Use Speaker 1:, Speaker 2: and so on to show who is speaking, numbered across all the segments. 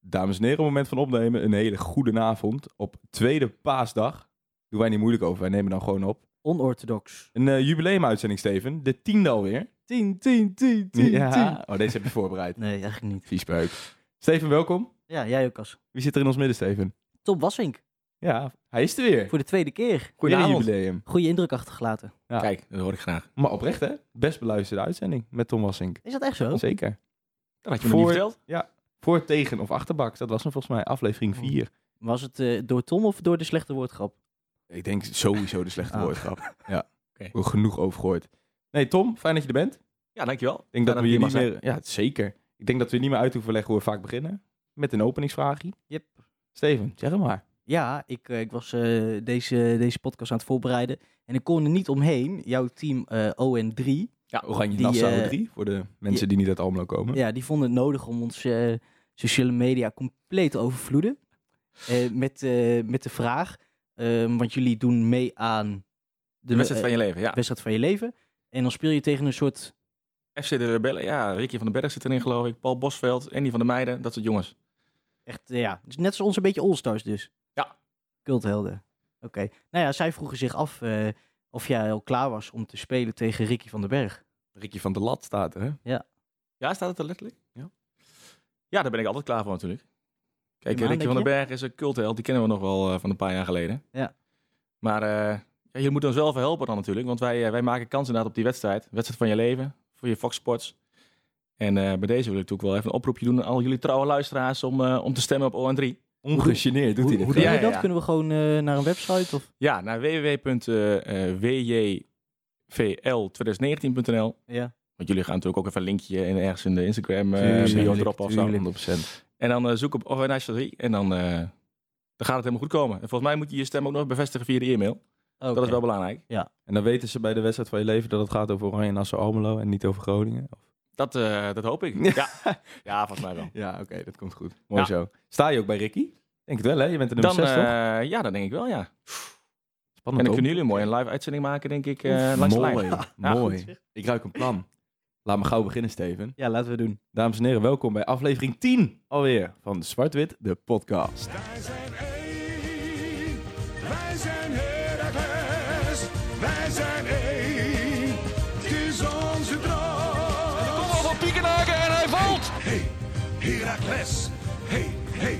Speaker 1: Dames en heren, op het moment van opnemen, een hele goede avond. Op tweede paasdag, doen wij niet moeilijk over, wij nemen dan gewoon op.
Speaker 2: Onorthodox.
Speaker 1: Een eh, jubileumuitzending, Steven. De tiende alweer.
Speaker 2: 10, 10, 10, 10,
Speaker 1: ja. Oh, deze heb je voorbereid.
Speaker 2: Nee, eigenlijk niet.
Speaker 1: Vies beuk. Steven, welkom.
Speaker 2: Ja, jij ook als.
Speaker 1: Wie zit er in ons midden, Steven?
Speaker 2: Tom Wassink,
Speaker 1: Ja, hij is er weer.
Speaker 2: voor de tweede keer.
Speaker 1: Weer een
Speaker 2: Goedenavond.
Speaker 1: jubileum.
Speaker 2: Goede indruk achtergelaten.
Speaker 1: Ja.
Speaker 3: Kijk, dat hoor ik graag.
Speaker 1: Maar oprecht, hè? Best beluisterde uitzending met Tom Wassink.
Speaker 2: Is dat echt zo?
Speaker 1: Zeker.
Speaker 3: Dat had
Speaker 1: je me niet
Speaker 3: verteld.
Speaker 1: Voor, tegen of achterbak, dat was hem volgens mij
Speaker 2: Oh.
Speaker 1: aflevering 4.
Speaker 2: Was het eh, door Tom of door de slechte woordgrap?
Speaker 1: Ik denk sowieso de slechte
Speaker 2: Ah.
Speaker 1: woordgrap. Ja,
Speaker 3: Oké.
Speaker 1: Wel genoeg over gehoord. Nee, Tom, fijn dat je er bent. Ik
Speaker 3: Ja, dankjewel. Ik
Speaker 1: denk dat, we hier niet meer... Ja, zeker. Ik denk dat we niet meer uit hoeven leggen hoe we vaak beginnen. Met een openingsvraagje.
Speaker 2: Yep.
Speaker 1: Steven, zeg het maar.
Speaker 2: Ja, ik, eh, ik was eh, deze, deze podcast aan het voorbereiden. En ik kon er niet omheen. Jouw team eh, ON3,
Speaker 3: Ja,
Speaker 1: Oranje
Speaker 2: Die,
Speaker 1: Nassau
Speaker 2: eh,
Speaker 1: 3, voor de mensen die niet uit Almelo komen.
Speaker 2: ja, die vonden het nodig om ons eh, sociale media compleet te overvloeden. Eh, met, eh, met de vraag, eh, want jullie doen mee aan
Speaker 3: de wedstrijd
Speaker 2: eh,
Speaker 3: van je leven, ja.
Speaker 2: wedstrijd van je leven. En dan speel je tegen een soort
Speaker 1: eh,
Speaker 3: FC de Rebellen, ja. Ricky van den Berg zit erin, geloof ik. Paul Bosveld, Andy van der Meijden, dat soort jongens.
Speaker 2: Echt, eh, ja. Dus net zoals ons een beetje all-stars dus.
Speaker 3: Ja.
Speaker 2: Culthelden. Oké. Nou ja, zij vroegen zich af eh, of jij al klaar was om te spelen tegen Ricky van den Berg.
Speaker 1: Rikje van de Lat staat er, hè?
Speaker 3: Ja, staat het er letterlijk? Ja. ja, daar ben ik altijd klaar voor natuurlijk. Kijk,
Speaker 2: Neem aan
Speaker 3: Ricky
Speaker 2: dat
Speaker 3: van den Berg is een cultheld. Die kennen we nog wel eh, van een paar jaar geleden.
Speaker 2: Ja.
Speaker 3: Maar eh, ja, je moet ons wel helpen dan natuurlijk. Want wij, eh, wij maken kans inderdaad op die wedstrijd. Wedstrijd van je leven, voor je Fox Sports. En eh, bij deze wil ik natuurlijk wel even een oproepje doen aan al jullie trouwe luisteraars om, eh, om te stemmen op ON3.
Speaker 1: Ongegeneerd doet hij dit.
Speaker 2: hoe hoe
Speaker 3: doe
Speaker 2: doen
Speaker 1: gewoon.
Speaker 2: we
Speaker 3: Ja, ja,
Speaker 2: dat?
Speaker 3: ja.
Speaker 2: Kunnen we gewoon eh, naar een website? Of?
Speaker 3: Ja, naar eh, www.wjvl2019.nl.
Speaker 2: Ja.
Speaker 3: Want jullie gaan natuurlijk ook even een linkje in, ergens in de Instagram eh,
Speaker 1: Tuurlijk,
Speaker 3: bio droppen of zo.
Speaker 1: tuurlijk. 100%.
Speaker 3: En dan eh, zoek op Organizer 3 en dan, eh, dan gaat het helemaal goed komen. En volgens mij moet je je stem ook nog bevestigen via de e-mail.
Speaker 2: Oké.
Speaker 3: Dat is wel belangrijk.
Speaker 1: En dan weten ze bij de wedstrijd van je leven dat het gaat over Oranje Nassau Almelo en niet over Groningen.
Speaker 3: Dat, eh, dat hoop ik. Ja, ja volgens mij wel.
Speaker 1: Ja, oké, dat komt goed. Mooi
Speaker 3: Ja.
Speaker 1: zo. Sta je ook bij Ricky? Denk het wel, hè? Je bent de nummer
Speaker 3: Dan,
Speaker 1: 6, toch?
Speaker 3: eh, ja, dat denk ik wel, ja. En
Speaker 1: Spannend,
Speaker 3: dan
Speaker 1: hoor.
Speaker 3: kunnen jullie mooi een live uitzending maken, denk ik, eh, langs de lijn.
Speaker 1: Mooi,
Speaker 3: Ja,
Speaker 1: mooi.
Speaker 2: goed.
Speaker 1: Ik ruik een plan. Laat me gauw beginnen, Steven.
Speaker 2: Ja, laten we doen.
Speaker 1: Dames en heren, welkom bij aflevering 10 alweer van Zwart-Wit, de podcast.
Speaker 4: Wij zijn één, wij zijn Heracles, wij zijn één, het is onze droom. Kom op van Piekenhaken en hij valt. Hey, hey Heracles, hey, hey,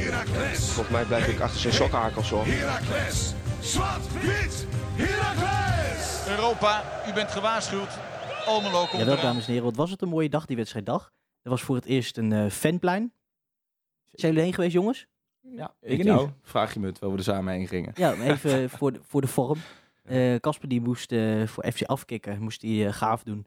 Speaker 4: Heracles,
Speaker 5: Volgens mij blijf ik achter zijn sokkenhakels hoor.
Speaker 4: Heracles, zwart-wit, Heracles.
Speaker 6: Europa, u bent gewaarschuwd. Almelo komt
Speaker 2: Jawel,
Speaker 6: eraan.
Speaker 2: dames en heren. Wat was het een mooie dag, die wedstrijddag. Er was voor het eerst een eh, fanplein. Zijn jullie heen geweest, jongens?
Speaker 1: Ja,
Speaker 3: ik
Speaker 1: ik
Speaker 3: niet.
Speaker 1: jou. Vraag je me het, wel we er samen heen gingen.
Speaker 2: Ja, maar even voor, de, voor de vorm. Eh, Casper die moest eh, voor FC afkicken, moest hij eh, gaaf doen.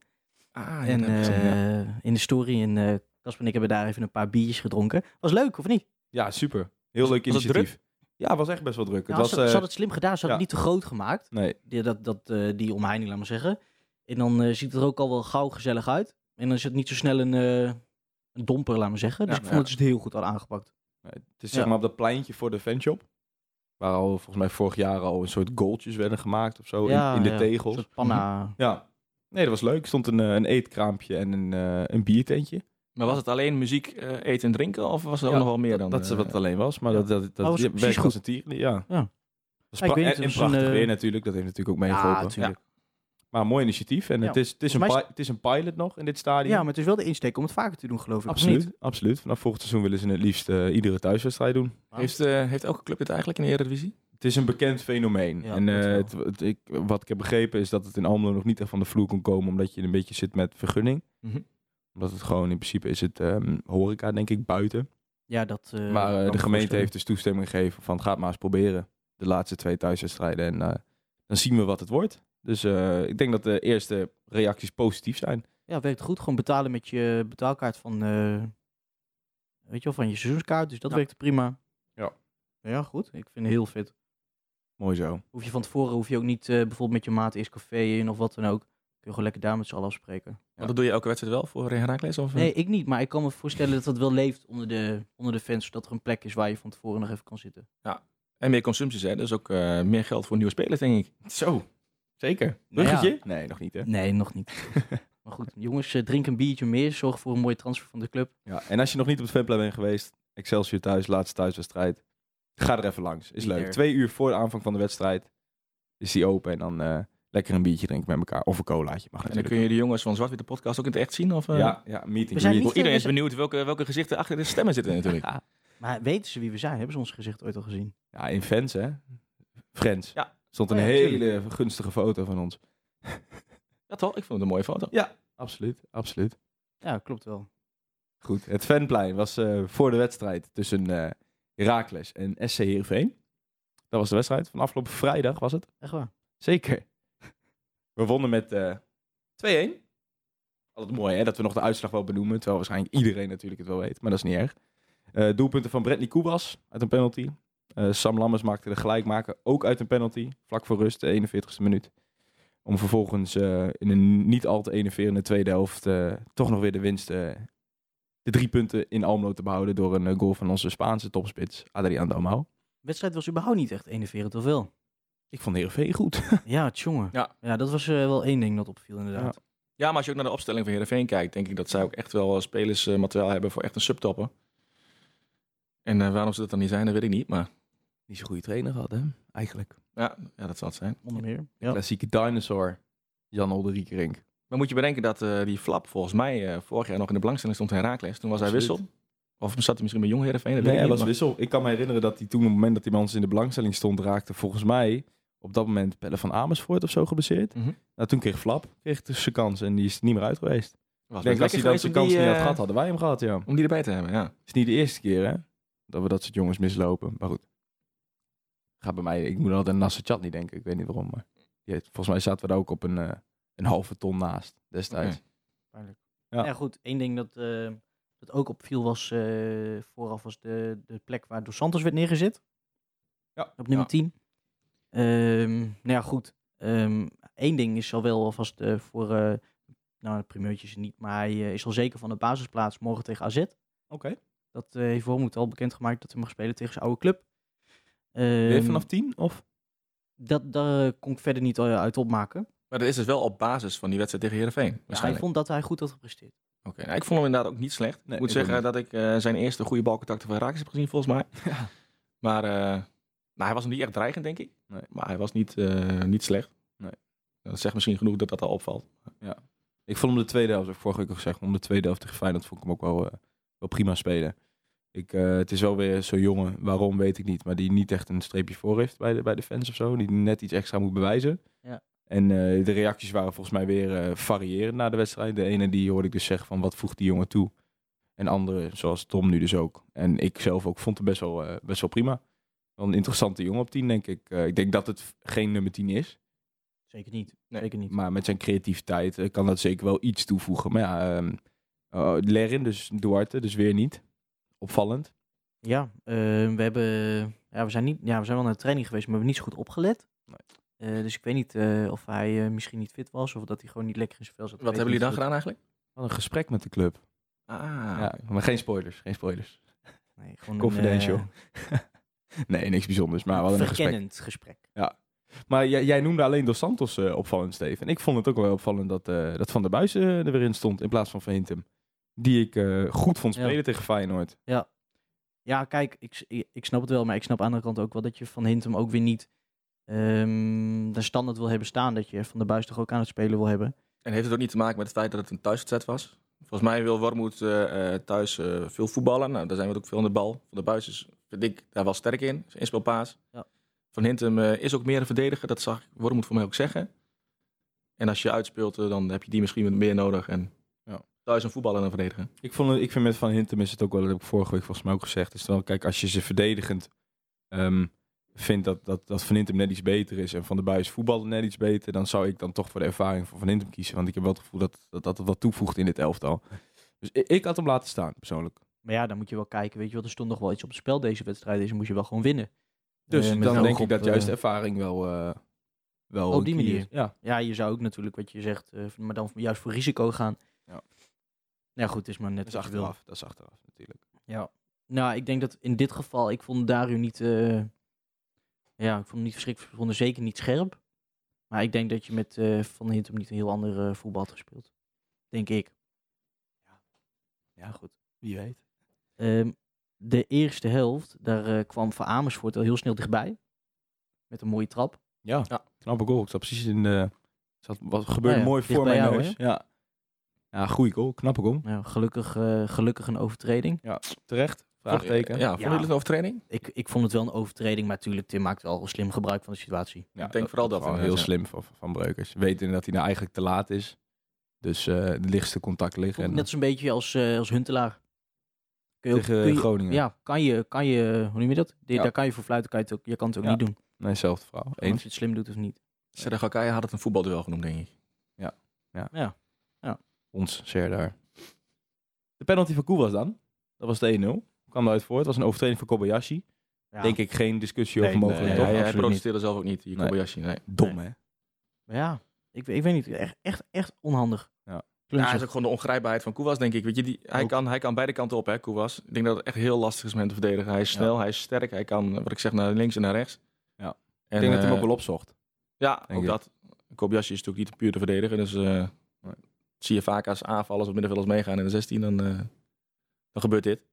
Speaker 3: Ah,
Speaker 2: En
Speaker 3: ja, dat is hem, ja.
Speaker 2: eh, in de story en eh Casper en ik hebben daar even een paar biertjes gedronken. Was leuk, of niet?
Speaker 1: Ja, super. Heel leuk
Speaker 3: was het
Speaker 1: initiatief. Ja, het was echt best wel druk.
Speaker 2: Ja,
Speaker 1: het was,
Speaker 2: ze, ze
Speaker 1: eh,
Speaker 2: had het slim gedaan. Ze had
Speaker 1: ja.
Speaker 2: het niet te groot gemaakt.
Speaker 1: Nee,
Speaker 2: Die, dat, dat, eh, die omheining, laat maar zeggen. En dan eh, ziet het er ook al wel gauw gezellig uit. En dan is het niet zo snel een, eh, een domper, laat maar zeggen. Dus
Speaker 3: Ja,
Speaker 2: ik vond
Speaker 3: ja.
Speaker 2: dat ze het heel goed hadden aangepakt.
Speaker 1: nee, het is
Speaker 2: Ja.
Speaker 1: zeg maar op dat pleintje voor de fanshop. Waar al volgens mij vorig jaar al een soort goaltjes werden gemaakt of zo in-
Speaker 2: Ja,
Speaker 1: in, de
Speaker 2: ja, Een
Speaker 1: tegels.
Speaker 2: soort panna.
Speaker 1: Ja. Nee, dat was leuk. Er stond een, eh, een eetkraampje en een, eh, een biertentje.
Speaker 3: Maar was het alleen muziek, eh, eten en drinken? Of was er
Speaker 1: Ja,
Speaker 3: ook nog wel meer dan?
Speaker 1: dat is
Speaker 3: eh,
Speaker 1: wat het alleen was. Maar
Speaker 3: ja.
Speaker 1: dat, dat, dat
Speaker 2: was
Speaker 1: je
Speaker 2: precies
Speaker 1: werkt
Speaker 2: goed.
Speaker 1: als een tier. Ja.
Speaker 2: Ja.
Speaker 1: Dat is
Speaker 2: Ja, ik
Speaker 1: pra-
Speaker 2: weet niet,
Speaker 1: en, en
Speaker 2: het was een,
Speaker 1: prachtig
Speaker 2: eh,
Speaker 1: weer natuurlijk. Dat heeft natuurlijk ook
Speaker 2: Ja,
Speaker 1: meegeholpen.
Speaker 2: natuurlijk.
Speaker 1: maar een mooi initiatief. En
Speaker 2: Ja.
Speaker 1: het, is, het, is een
Speaker 2: Volgens mij
Speaker 1: pi- het is een pilot nog in dit stadion.
Speaker 2: Ja, maar het is wel de insteek om het vaker te doen, geloof ik. of
Speaker 1: absoluut,
Speaker 2: niet?
Speaker 1: absoluut. Vanaf volgend seizoen willen ze het liefst eh, iedere thuiswedstrijd doen.
Speaker 3: Heeft, eh, heeft elke club dit eigenlijk in de Eredivisie?
Speaker 1: Het is een bekend fenomeen.
Speaker 2: Ja,
Speaker 1: en
Speaker 2: dat
Speaker 1: eh,
Speaker 2: wel.
Speaker 1: het, het- ik, wat ik heb begrepen is dat het in Almelo nog niet echt van de vloer kon komen. Omdat je een beetje zit met vergunning.
Speaker 3: Mhm.
Speaker 1: Omdat het gewoon in principe is het ehm, horeca, denk ik, buiten.
Speaker 2: Ja, dat... eh,
Speaker 1: Maar eh,
Speaker 2: kan
Speaker 1: de
Speaker 2: ik me
Speaker 1: gemeente
Speaker 2: voorstellen.
Speaker 1: heeft dus toestemming gegeven van ga het maar eens proberen. De laatste twee thuiswedstrijden. En eh, dan zien we wat het wordt. Dus eh, ik denk dat de eerste reacties positief zijn.
Speaker 2: Ja, werkt goed. Gewoon betalen met je betaalkaart van, eh, weet je wel, van je seizoenskaart. Dus dat
Speaker 3: Ja.
Speaker 2: werkt prima.
Speaker 1: Ja.
Speaker 2: Ja, goed. Ik vind het heel fit.
Speaker 1: Mooi zo.
Speaker 2: Hoef je van tevoren hoef je ook niet eh, bijvoorbeeld met je maat eerst café in of wat dan ook. Kun je gewoon lekker daar met z'n allen afspreken.
Speaker 3: Want dat doe je elke wedstrijd wel voor Herakles? Of, eh?
Speaker 2: Nee, ik niet. Maar ik kan me voorstellen dat dat wel leeft onder de, onder de fans. Zodat er een plek is waar je van tevoren nog even kan zitten.
Speaker 3: En meer consumpties, hè? Dus ook eh, meer geld voor nieuwe spelers, denk ik.
Speaker 1: Zo. Zeker.
Speaker 2: Nou ja.
Speaker 1: Bruggetje? Nee, nog niet hè.
Speaker 2: Nee, nog niet. maar goed, jongens, eh, drink een biertje meer. Zorg voor een mooie transfer van de club.
Speaker 1: Ja. En als je nog niet op het fanplein bent geweest, Excelsior thuis, laatste thuiswedstrijd. Ga er even langs. Is
Speaker 2: Niet
Speaker 1: leuk.
Speaker 2: erg.
Speaker 1: Twee uur voor de aanvang van de wedstrijd is die open. En dan eh, lekker een biertje drinken met elkaar. Of een colaatje. Mag
Speaker 3: En dan
Speaker 1: natuurlijk
Speaker 3: kun je de jongens van Zwart-Witte Podcast ook in het echt zien. Of, eh,
Speaker 1: ook. ja, ja, meeting.
Speaker 2: We zijn
Speaker 1: greet.
Speaker 2: niet-
Speaker 3: Iedereen is
Speaker 2: we zijn-
Speaker 3: benieuwd welke, welke gezichten achter de stemmen zitten natuurlijk.
Speaker 1: Ja,
Speaker 2: Maar weten ze wie we zijn? Hebben ze ons gezicht ooit al gezien?
Speaker 1: Ja, in fans hè. Friends.
Speaker 3: Ja.
Speaker 1: Stond een
Speaker 2: Ja,
Speaker 1: hele gunstige foto van ons.
Speaker 3: Ja toch, ik vond het een mooie foto.
Speaker 1: Absoluut, absoluut.
Speaker 2: Ja, klopt wel.
Speaker 1: Goed, het fanplein was eh, voor de wedstrijd tussen eh Heracles en SC Heerenveen. Dat was de wedstrijd van afgelopen vrijdag, was het?
Speaker 2: Echt waar.
Speaker 1: Zeker. We wonnen met eh 2-1. Altijd mooi hè, dat we nog de uitslag wel benoemen. Terwijl waarschijnlijk iedereen natuurlijk het wel weet, maar dat is niet erg. Eh, doelpunten van Bradley Koebas uit een penalty. Eh, Sam Lammers maakte de gelijkmaker ook uit een penalty. Vlak voor rust, de 41ste minuut. Om vervolgens eh, in een niet al te enerverende tweede helft eh, toch nog weer de winst... eh, de drie punten in Almelo te behouden door een eh, goal van onze Spaanse topspits, Adriaan Dalmau.
Speaker 2: De wedstrijd was überhaupt niet echt enerverend, of wel?
Speaker 1: Ik vond Heerenveen goed.
Speaker 2: Ja, tjonge.
Speaker 3: Ja.
Speaker 2: dat was eh, wel één ding dat opviel inderdaad.
Speaker 3: Ja, maar als je ook naar de opstelling van Heerenveen kijkt, denk ik dat zij ook echt wel spelersmateriaal hebben voor echt een subtopper. En eh, waarom ze dat dan niet zijn, dat weet ik niet. Maar
Speaker 1: Niet zo'n goede trainer had, hè? Eigenlijk.
Speaker 3: ja, ja dat zal het zijn.
Speaker 2: Onder meer. Ja.
Speaker 1: Klassieke dinosaur. Jan Olderiekerink.
Speaker 3: Maar moet je bedenken dat eh, die flap volgens mij eh, vorig jaar nog in de belangstelling stond in Herakles. Toen was hij
Speaker 1: Absoluut.
Speaker 3: wissel. Of zat hij misschien bij Jong Heerenveen? Dat
Speaker 1: Nee,
Speaker 3: weet
Speaker 1: hij
Speaker 3: ik
Speaker 1: was
Speaker 3: niet,
Speaker 1: wissel. Ik kan me herinneren dat hij toen, op het moment dat hij bij ons in de belangstelling stond, raakte volgens mij op dat moment Pelle van Amersfoort of zo geblesseerd.
Speaker 3: Mhm.
Speaker 1: Nou, toen kreeg Flap kreeg dus zijn kans en die is niet meer uit geweest.
Speaker 3: maar
Speaker 1: Ik
Speaker 3: was
Speaker 1: denk
Speaker 3: best
Speaker 1: dat hij dan
Speaker 3: lekker
Speaker 1: zijn
Speaker 3: geweest
Speaker 1: kans
Speaker 3: om
Speaker 1: niet
Speaker 3: die,
Speaker 1: had
Speaker 3: eh,
Speaker 1: gehad, hadden wij hem gehad, ja.
Speaker 3: Om die erbij te hebben, ja.
Speaker 1: Het is niet de eerste keer, hè, dat we dat soort jongens mislopen. Maar goed. Gaat bij mij, ik moet altijd aan Nasser Chat niet denken, ik weet niet waarom. Maar die heeft- volgens mij zaten we daar ook op een, eh, een halve ton naast destijds.
Speaker 3: Oké.
Speaker 1: Ja.
Speaker 2: Ja. goed. Eén ding dat, eh, dat ook opviel was eh, vooraf was de, de plek waar Dos Santos werd neergezet.
Speaker 1: Ja.
Speaker 2: Op nummer
Speaker 3: Ja.
Speaker 2: 10. Ehm, nou ja, goed. Eén ding is al wel alvast eh, voor, eh nou het primeurtje is het niet, maar hij eh, is al zeker van de basisplaats morgen tegen AZ. Dat eh heeft Wormoed al bekendgemaakt dat hij mag spelen tegen zijn oude club.
Speaker 1: Weer
Speaker 2: Ehm,
Speaker 1: vanaf tien, of?
Speaker 2: Dat, daar eh, kon ik verder niet eh, uit opmaken.
Speaker 3: Maar dat is dus wel op basis van die wedstrijd tegen Heerenveen.
Speaker 2: Ja, hij
Speaker 3: Waarschijnlijk.
Speaker 2: vond dat hij goed had gepresteerd.
Speaker 3: Oké, nou, ik vond hem inderdaad ook niet slecht.
Speaker 1: Nee,
Speaker 3: ik moet
Speaker 1: ik
Speaker 3: zeggen
Speaker 1: ook
Speaker 3: dat ik eh, zijn eerste goede balcontacten van Herakles heb gezien, volgens mij. Maar eh, nou, hij was nog niet echt dreigend, denk ik.
Speaker 1: Nee.
Speaker 3: Maar hij was niet, eh, niet slecht.
Speaker 1: Nee.
Speaker 3: Dat zegt misschien genoeg dat dat al opvalt.
Speaker 1: Ik vond hem de tweede helft, heb ik vorige week al gezegd, om de tweede helft tegen Feyenoord vond ik hem ook wel, eh, wel prima spelen. Ik, eh, het is wel weer zo'n jongen, waarom weet ik niet, maar die niet echt een streepje voor heeft bij de, bij de fans of zo. Die net iets extra moet bewijzen.
Speaker 2: Ja.
Speaker 1: En eh, de reacties waren volgens mij weer eh, variërend na de wedstrijd. De ene die hoorde ik dus zeggen van wat voegt die jongen toe. En andere, zoals Tom nu dus ook. En ik zelf ook vond hem best wel, eh, best wel prima. Wel een interessante jongen op 10, denk ik. Eh, ik denk dat het geen nummer 10 is.
Speaker 2: Zeker niet.
Speaker 3: Nee.
Speaker 2: Zeker niet.
Speaker 1: Maar met zijn creativiteit eh, kan dat zeker wel iets toevoegen. Maar ja, ehm, eh, Lerin, dus Duarte, dus weer niet. Opvallend.
Speaker 2: Ja, eh, we hebben, eh, ja, we zijn niet, ja, we zijn wel naar de training geweest, maar we hebben niet zo goed opgelet. Eh, dus ik weet niet eh, of hij eh, misschien niet fit was of dat hij gewoon niet lekker in zijn vel zat.
Speaker 3: Wat hebben jullie dan gedaan eigenlijk?
Speaker 1: Wat een gesprek met de club.
Speaker 3: Ah,
Speaker 1: Ja, maar geen spoilers, geen spoilers.
Speaker 2: gedaan? Nee, gewoon een,
Speaker 1: Confidential.
Speaker 2: eh,
Speaker 1: Nee, niks bijzonders, maar wel een gesprek.
Speaker 2: verkennend gesprek.
Speaker 1: Maar jij, jij noemde alleen Dos Santos eh, opvallend, Steven. En ik vond het ook wel opvallend dat, eh, dat Van der Buis eh, er weer in stond in plaats van Van Hintem. Die ik eh, goed vond
Speaker 2: Ja.
Speaker 1: spelen tegen Feyenoord.
Speaker 2: Ja, kijk, ik, s- ik- ik snap het wel, maar ik snap aan de andere kant ook wel dat je van Hintem ook weer niet ehm de standaard wil hebben staan. Dat je van de buis toch ook aan het spelen wil hebben.
Speaker 3: En heeft het ook niet te maken met het feit dat het een thuiswedstrijd was? Volgens mij wil Wormoed eh, eh, thuis eh, veel voetballen. Nou, daar zijn we ook veel aan de bal. Van de Buis is, vind ik, daar wel sterk in. Zijn inspeelpaas.
Speaker 2: Ja.
Speaker 3: Van Hintem eh, is ook meer een verdediger. Dat zag Wormoed voor mij ook zeggen. En als je uitspeelt, eh, dan heb je die misschien wat meer nodig. En
Speaker 1: Ja.
Speaker 3: thuis een voetballer en een verdediger.
Speaker 1: Ik, vond, het- ik vind met Van Hintem is het ook wel, dat heb ik vorige week volgens mij ook gezegd. Is wel, kijk, als je ze verdedigend ehm, vindt dat, dat, dat Van Hintem net iets beter is en Van der Buis voetballen net iets beter, dan zou ik dan toch voor de ervaring van Van Hintem kiezen. Want ik heb wel het gevoel dat dat, dat het wat toevoegt in dit elftal. Dus ik, ik had hem laten staan, persoonlijk.
Speaker 2: Maar ja, dan moet je wel kijken, weet je wel, er stond nog wel iets op het spel deze wedstrijd. Dus moet je wel gewoon winnen.
Speaker 1: Dus
Speaker 2: Eh, met het
Speaker 1: dan
Speaker 2: oog
Speaker 1: denk ik
Speaker 2: op,
Speaker 1: dat juist
Speaker 2: eh,
Speaker 1: de ervaring wel. eh, wel
Speaker 2: Op die
Speaker 1: een key
Speaker 2: manier.
Speaker 1: is. Ja.
Speaker 2: Ja, je zou ook natuurlijk wat je zegt, eh, maar dan juist voor risico gaan.
Speaker 1: Ja.
Speaker 2: Nou goed, het is maar net
Speaker 1: Dat is
Speaker 2: wat je wil.
Speaker 1: achteraf. Dat is achteraf natuurlijk.
Speaker 2: Ja. Nou, ik denk dat in dit geval, ik vond Dario niet, eh, ja, ik vond hem niet verschrikkelijk, ik vond hem zeker niet scherp. Maar ik denk dat je met eh, Van Hintem niet een heel ander eh, voetbal had gespeeld. Denk ik. Ja, goed.
Speaker 1: Wie weet.
Speaker 2: Ehm, de eerste helft, daar eh, kwam Van Amersfoort al heel snel dichtbij. Met een mooie trap.
Speaker 1: Ja,
Speaker 3: Ja.
Speaker 1: knappe goal. Ik zat precies in de... Zat, wat gebeurde
Speaker 2: ja,
Speaker 1: mooi
Speaker 2: dicht
Speaker 1: voor
Speaker 2: bij
Speaker 1: mijn
Speaker 2: jou,
Speaker 1: neus. Ja. ja, goeie goal. Knappe goal.
Speaker 2: Nou, gelukkig, eh, gelukkig een overtreding.
Speaker 1: Terecht. Vraagteken.
Speaker 3: Ja, vond je
Speaker 2: Ja.
Speaker 3: het een overtreding?
Speaker 2: Ik, ik vond het wel een overtreding, maar natuurlijk, Tim maakt wel slim gebruik van de situatie.
Speaker 1: Ja,
Speaker 3: Ik denk vooral dat eh,
Speaker 1: gewoon heel
Speaker 3: inderdaad,
Speaker 1: slim van, van Breukers. Weten dat hij nou eigenlijk te laat is. Dus eh de lichtste contact liggen. En,
Speaker 2: Net zo'n beetje als, eh, als Huntelaar. Kun je ook-
Speaker 1: tegen
Speaker 2: kun je-
Speaker 1: Groningen.
Speaker 2: Ja, kan je, kan je, hoe noem je dat? Die-
Speaker 1: Ja.
Speaker 2: Daar kan je voor fluiten, kan je, het ook, je kan het ook
Speaker 1: Ja.
Speaker 2: niet doen.
Speaker 1: Nee, zelfde verhaal.
Speaker 2: Of
Speaker 1: Eens.
Speaker 2: je het slim doet of niet.
Speaker 3: Sergakaya had het een voetbalduel genoemd, denk ik.
Speaker 1: Ons daar. De penalty van Koe was dan. Dat was de 1-0. Kwam eruit voor. Het was een overtreding van Kobayashi.
Speaker 2: Ja.
Speaker 1: Denk ik geen discussie
Speaker 2: Nee,
Speaker 1: over mogelijk,
Speaker 2: nee,
Speaker 1: toch?
Speaker 2: ja, ja.
Speaker 3: hij
Speaker 2: absoluut
Speaker 3: protesteerde zelf ook niet, je
Speaker 1: Nee.
Speaker 3: Kobayashi. Nee.
Speaker 1: Dom, hè?
Speaker 2: Maar ja, ik, weet- ik weet niet. Echt, echt, echt onhandig.
Speaker 1: Ja.
Speaker 3: Ja,
Speaker 2: Klunzig.
Speaker 3: hij is ook gewoon de ongrijpbaarheid van Koewas, denk ik. Weet je, die, hij,
Speaker 2: Ook.
Speaker 3: kan, hij kan beide kanten op, hè, Koewas. Ik denk dat het echt heel lastig is om hem te verdedigen. Hij is snel, hij is sterk. Hij kan, eh, wat ik zeg, naar links en naar rechts.
Speaker 1: Ja.
Speaker 3: En,
Speaker 1: Ik denk dat hij hem
Speaker 3: eh,
Speaker 1: ook wel opzocht.
Speaker 3: Ja,
Speaker 1: denk
Speaker 3: ook
Speaker 1: ik.
Speaker 3: dat. Kobayashi is natuurlijk niet puur te verdedigen. Dus eh,
Speaker 1: Nee.
Speaker 3: zie je vaak als aanvallers of middenvelders meegaan in de 16, dan, eh, dan gebeurt dit.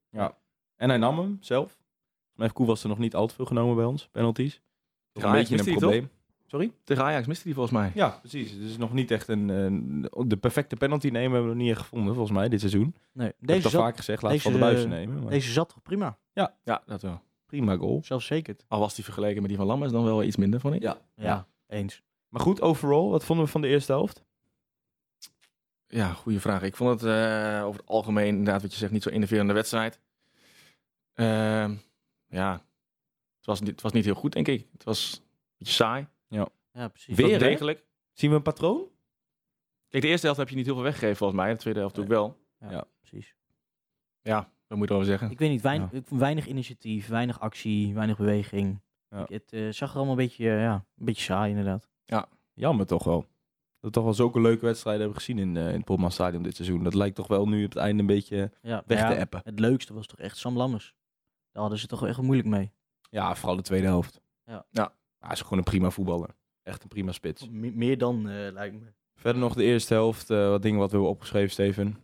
Speaker 1: En hij nam hem zelf. Volgens mij heeft Koe was er nog niet al te veel genomen bij ons. Penalties. Toch
Speaker 3: Ja,
Speaker 1: een
Speaker 3: hij
Speaker 1: beetje
Speaker 3: miste
Speaker 1: een
Speaker 3: die,
Speaker 1: probleem. Sorry?
Speaker 3: Tegen Ajax miste hij volgens mij.
Speaker 1: Ja, precies. Het is nog niet echt een, een- De perfecte penalty nemen hebben we nog niet echt gevonden, volgens mij, dit seizoen.
Speaker 2: nee,
Speaker 1: Ik heb
Speaker 2: deze,
Speaker 1: dat
Speaker 2: zat,
Speaker 1: vaak gezegd, laat
Speaker 2: deze-
Speaker 1: van de buis nemen. Maar
Speaker 2: deze zat toch prima?
Speaker 3: Ja, dat wel.
Speaker 1: Prima goal.
Speaker 2: Zelfverzekerd.
Speaker 3: Al was die vergeleken met die van Lammers dan wel iets minder, vond ik.
Speaker 1: Ja.
Speaker 2: Ja, eens.
Speaker 1: Maar goed, overall, wat vonden we van de eerste helft?
Speaker 3: Ja, goede vraag. Ik vond het eh, over het algemeen, inderdaad, wat je zegt, niet zo innoverende wedstrijd. Ehm, ja, het was, niet, het was niet heel goed, denk ik. Het was een beetje saai.
Speaker 2: Ja, precies.
Speaker 3: Het was
Speaker 1: Weer, hè?
Speaker 3: degelijk.
Speaker 1: Zien we een patroon?
Speaker 3: Kijk, de eerste helft heb je niet heel veel weggegeven, volgens mij. De tweede helft natuurlijk wel.
Speaker 2: precies.
Speaker 3: Ja, dat moet je erover zeggen.
Speaker 2: Ik weet niet, weinig, ik vond weinig initiatief, weinig actie, weinig beweging.
Speaker 1: Ja.
Speaker 2: Ik- het eh, zag er allemaal een beetje, eh, ja, een beetje saai inderdaad.
Speaker 1: Jammer toch wel. Dat we toch wel zulke leuke wedstrijden hebben gezien in, eh in het Polman Stadion dit seizoen. Dat lijkt toch wel nu op het einde een beetje
Speaker 2: Ja,
Speaker 1: weg
Speaker 2: maar ja,
Speaker 1: te appen.
Speaker 2: Het leukste was toch echt Sam Lammers. Daar hadden ze toch wel echt moeilijk mee.
Speaker 1: Ja, vooral de tweede helft.
Speaker 2: Ja.
Speaker 3: Ja.
Speaker 1: Hij is gewoon een prima voetballer. Echt een prima spits.
Speaker 2: Me- meer dan, eh, lijkt me.
Speaker 1: Verder nog de eerste helft, eh, wat dingen wat we hebben opgeschreven, Steven.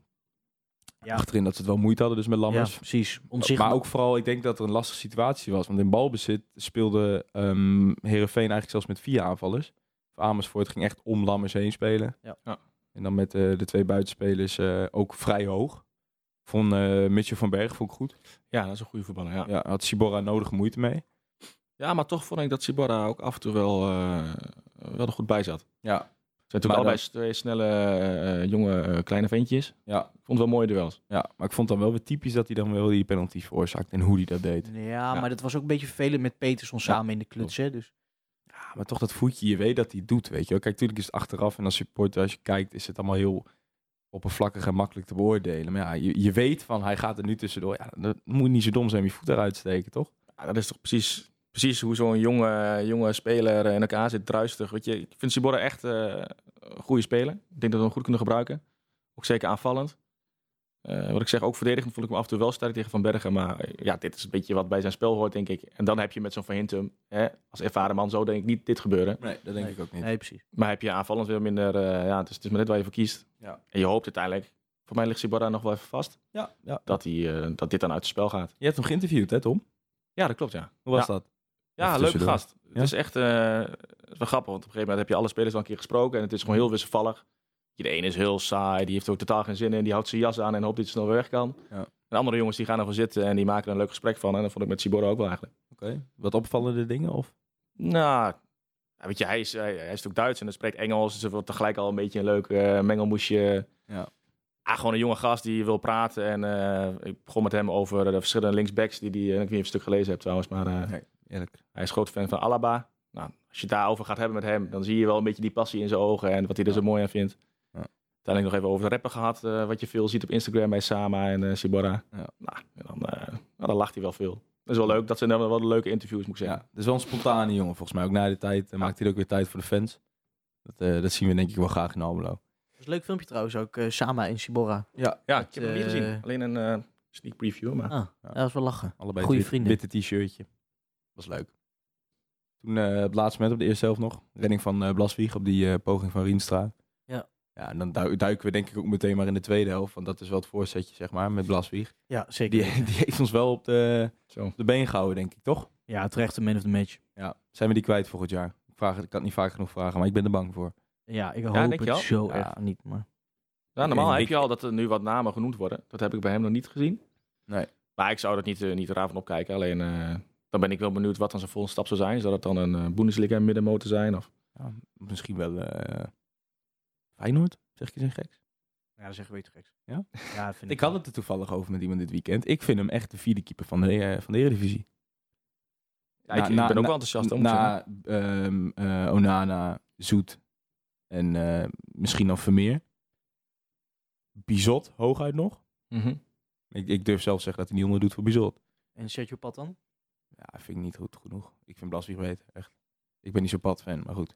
Speaker 2: Ja.
Speaker 1: Achterin dat ze het wel moeite hadden dus met
Speaker 2: Ja,
Speaker 1: Lammers.
Speaker 2: precies. Onzichtbaar.
Speaker 1: Maar ook vooral, ik denk dat er een lastige situatie was. Want in balbezit speelde ehm Herenveen eigenlijk zelfs met vier aanvallers. Of Amersfoort ging echt om Lammers heen spelen.
Speaker 2: Ja.
Speaker 3: Ja.
Speaker 1: En dan met eh, de twee buitenspelers eh, ook vrij hoog. Van eh Mitchell van Berg vond ik goed.
Speaker 3: Ja, dat is een goede voetballer, ja.
Speaker 1: Ja, had Sibora nodig moeite mee.
Speaker 3: Ja, maar toch vond ik dat Sibora ook af en toe wel, eh, wel er goed bij zat.
Speaker 1: Ja.
Speaker 3: Ze zijn
Speaker 1: Maar
Speaker 3: natuurlijk allebei twee snelle, eh, jonge, eh, kleine ventjes.
Speaker 1: Ja.
Speaker 3: Ik vond het wel mooie duels.
Speaker 1: ja, maar ik vond dan wel weer typisch dat hij dan wel die penalty veroorzaakt. En hoe hij dat deed.
Speaker 2: Ja, maar dat was ook een beetje vervelend met Peterson samen in de kluts, hè. Dus
Speaker 1: Ja, maar toch dat voetje, je weet dat hij het doet, weet je wel. Kijk, natuurlijk is het achteraf en als supporter, als je kijkt, is het allemaal heel oppervlakkig en makkelijk te beoordelen. Maar ja, je, je weet van, hij gaat er nu tussendoor. Ja, dat moet niet zo dom zijn om je voet eruit te steken, toch?
Speaker 3: Ja, dat is toch precies, precies hoe zo'n jonge, jonge speler eh, in elkaar zit, druistig. Weet je, ik vind Sibora echt eh, een goede speler. Ik denk dat we hem goed kunnen gebruiken. Ook zeker aanvallend. Eh, wat ik zeg, ook verdedigend vond ik hem af en toe wel sterk tegen Van Bergen. Maar eh, ja, dit is een beetje wat bij zijn spel hoort, denk ik. En dan heb je met zo'n Van Hintem, hè, als ervaren man, zo denk ik niet dit gebeuren.
Speaker 1: Nee, dat
Speaker 2: denk
Speaker 1: ik ook
Speaker 2: nee, precies.
Speaker 3: Maar heb je aanvallend weer minder, eh, ja, het is, het is maar net waar je voor kiest.
Speaker 1: Ja.
Speaker 3: En je hoopt uiteindelijk, voor mij ligt Sibora nog wel even vast,
Speaker 1: Ja, ja.
Speaker 3: dat, hij, eh, dat dit dan uit het spel gaat.
Speaker 1: Je hebt hem geïnterviewd, hè Tom?
Speaker 3: Ja, dat klopt, ja.
Speaker 1: Hoe was
Speaker 3: Ja.
Speaker 1: dat?
Speaker 3: Ja,
Speaker 1: Even
Speaker 3: leuke
Speaker 1: tussendoor.
Speaker 3: gast.
Speaker 1: Ja?
Speaker 3: Het is echt eh, het is wel grappig, want op een gegeven moment heb je alle spelers al een keer gesproken en het is gewoon heel wisselvallig. De ene is heel saai, die heeft er ook totaal geen zin in, die houdt zijn jas aan en hoopt dat hij snel weer weg kan.
Speaker 1: Ja.
Speaker 3: En andere jongens die gaan ervoor zitten en die maken er een leuk gesprek van. En dat vond ik met Sibora ook wel eigenlijk.
Speaker 1: Oké. Wat opvallende dingen, of?
Speaker 3: Nou, ja, weet je, hij is, hij, hij is natuurlijk Duits en hij spreekt Engels, dus er wordt tegelijk al een beetje een leuk eh, mengelmoesje.
Speaker 1: Ja.
Speaker 3: Ah, gewoon een jonge gast die wil praten. En eh, ik begon met hem over de verschillende linksbacks die die, eh, ik weet niet of je het stuk gelezen hebt trouwens, maar eh,
Speaker 1: Eerlijk.
Speaker 3: hij is groot fan van Alaba. Nou, als je het daarover gaat hebben met hem, dan zie je wel een beetje die passie in zijn ogen en wat hij er zo mooi aan vindt.
Speaker 1: Ja.
Speaker 3: Uiteindelijk nog even over de rapper gehad, eh, wat je veel ziet op Instagram bij Sama en eh Sibora.
Speaker 1: Ja.
Speaker 3: Nou, en dan, eh, nou, dan lacht hij wel veel. Dat is wel leuk, dat zijn dan wel de leuke interviews, moet ik
Speaker 1: Ja,
Speaker 3: zeggen.
Speaker 1: dat is wel een spontane jongen, volgens mij. Ook na de tijd eh, maakt hij ook weer tijd voor de fans. Dat, eh, dat zien we denk ik wel graag in Almelo.
Speaker 2: Dat is een leuk filmpje trouwens ook, eh, Sama en Sibora.
Speaker 3: Ja,
Speaker 2: Het,
Speaker 3: ik heb hem niet
Speaker 2: eh,
Speaker 3: gezien. Alleen een eh, sneak preview, maar...
Speaker 2: Ah, ja, dat is wel lachen.
Speaker 1: Allebei
Speaker 2: Goeie
Speaker 1: het wit-
Speaker 2: vrienden.
Speaker 1: witte t-shirtje. Was leuk. Toen eh op het laatste moment, op de eerste helft nog, redding van eh Blaswieg op die eh, poging van Rienstra.
Speaker 2: Ja.
Speaker 1: Ja, en dan du- duiken we denk ik ook meteen maar in de tweede helft. Want dat is wel het voorzetje, zeg maar, met Blaswieg.
Speaker 2: Ja, zeker.
Speaker 1: Die, die heeft ons wel op de,
Speaker 3: Zo.
Speaker 1: op de been gehouden, denk ik, toch?
Speaker 2: Ja, terecht de man of the match.
Speaker 1: Ja. Zijn we die kwijt volgend jaar? Ik, vraag, het- ik kan het niet vaak genoeg vragen, maar ik ben er bang voor.
Speaker 2: Ja, ik
Speaker 3: denk
Speaker 2: hoop
Speaker 3: je
Speaker 2: het
Speaker 3: al?
Speaker 2: zo
Speaker 1: Ja.
Speaker 2: erg niet. Maar
Speaker 3: Ja, normaal
Speaker 1: Ik-
Speaker 3: heb je al dat er nu wat namen genoemd worden. Dat heb ik bij hem nog niet gezien.
Speaker 1: Nee.
Speaker 3: Maar ik zou dat niet, eh, niet raar van opkijken. Alleen eh, dan ben ik wel benieuwd wat dan zijn volgende stap zou zijn. Zou dat dan een eh, Bundesliga middenmotor zijn? Of...
Speaker 1: Ja, misschien wel eh Feyenoord, zeg ik eens een geks.
Speaker 2: ja, dan zeggen we iets geks.
Speaker 1: Ja?
Speaker 2: ja vind
Speaker 1: Ik had het er toevallig over met iemand dit weekend. Ik vind hem echt de vierde keeper van de, eh, van de Eredivisie.
Speaker 3: Ja,
Speaker 1: Na-
Speaker 3: ik, ik
Speaker 1: na-
Speaker 3: ben ook
Speaker 1: na-
Speaker 3: wel enthousiast. om
Speaker 1: Na ehm, eh, Onana, Zoet en eh, misschien dan Vermeer. Bizot, hooguit nog.
Speaker 3: Mhm.
Speaker 1: Ik, ik durf zelf zeggen dat hij niet onder doet voor Bizot.
Speaker 2: En Sergio Pat dan?
Speaker 1: Ja, vind ik niet goed genoeg. Ik vind Blaswieg beter, echt. Ik ben niet zo'n pad-fan, maar goed.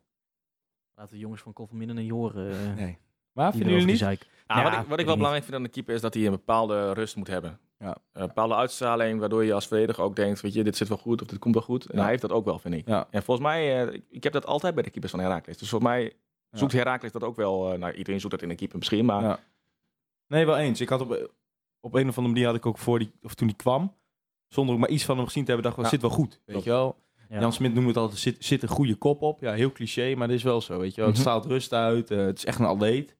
Speaker 2: Laten de jongens van Kofferminnen niet horen. eh,
Speaker 1: Nee. Maar vinden
Speaker 2: ieder
Speaker 1: jullie
Speaker 2: over
Speaker 1: niet?
Speaker 2: gezeik.
Speaker 3: Ja,
Speaker 2: Ja,
Speaker 3: Ah, wat ik,
Speaker 2: weet ik
Speaker 3: wat ik
Speaker 2: niet.
Speaker 3: wel belangrijk vind aan de keeper is dat hij een bepaalde rust moet hebben.
Speaker 1: Ja.
Speaker 3: Een bepaalde uitstraling waardoor je als verdediger ook denkt, weet je, dit zit wel goed of dit komt wel goed. En
Speaker 1: Ja.
Speaker 3: hij heeft dat ook wel, vind ik.
Speaker 1: Ja.
Speaker 3: En volgens mij, eh, ik- ik heb dat altijd bij de keepers van Herakles. Dus volgens mij zoekt Herakles dat ook wel. eh, nou, iedereen zoekt dat in een keeper misschien, maar
Speaker 1: Ja. Nee, wel eens. Ik had op, op een of andere manier had ik ook voor die, of toen die kwam, zonder ook maar iets van hem gezien te hebben, dacht ik,
Speaker 3: Ja.
Speaker 1: zit wel goed. Weet
Speaker 3: Klopt.
Speaker 1: je wel?
Speaker 2: Ja.
Speaker 1: Jan Smit noemt het altijd, zit, zit een goede kop op. Ja, heel cliché, maar dat is wel zo, weet je wel.
Speaker 3: Mhm.
Speaker 1: Het straalt rust uit, eh, het is echt een atleet.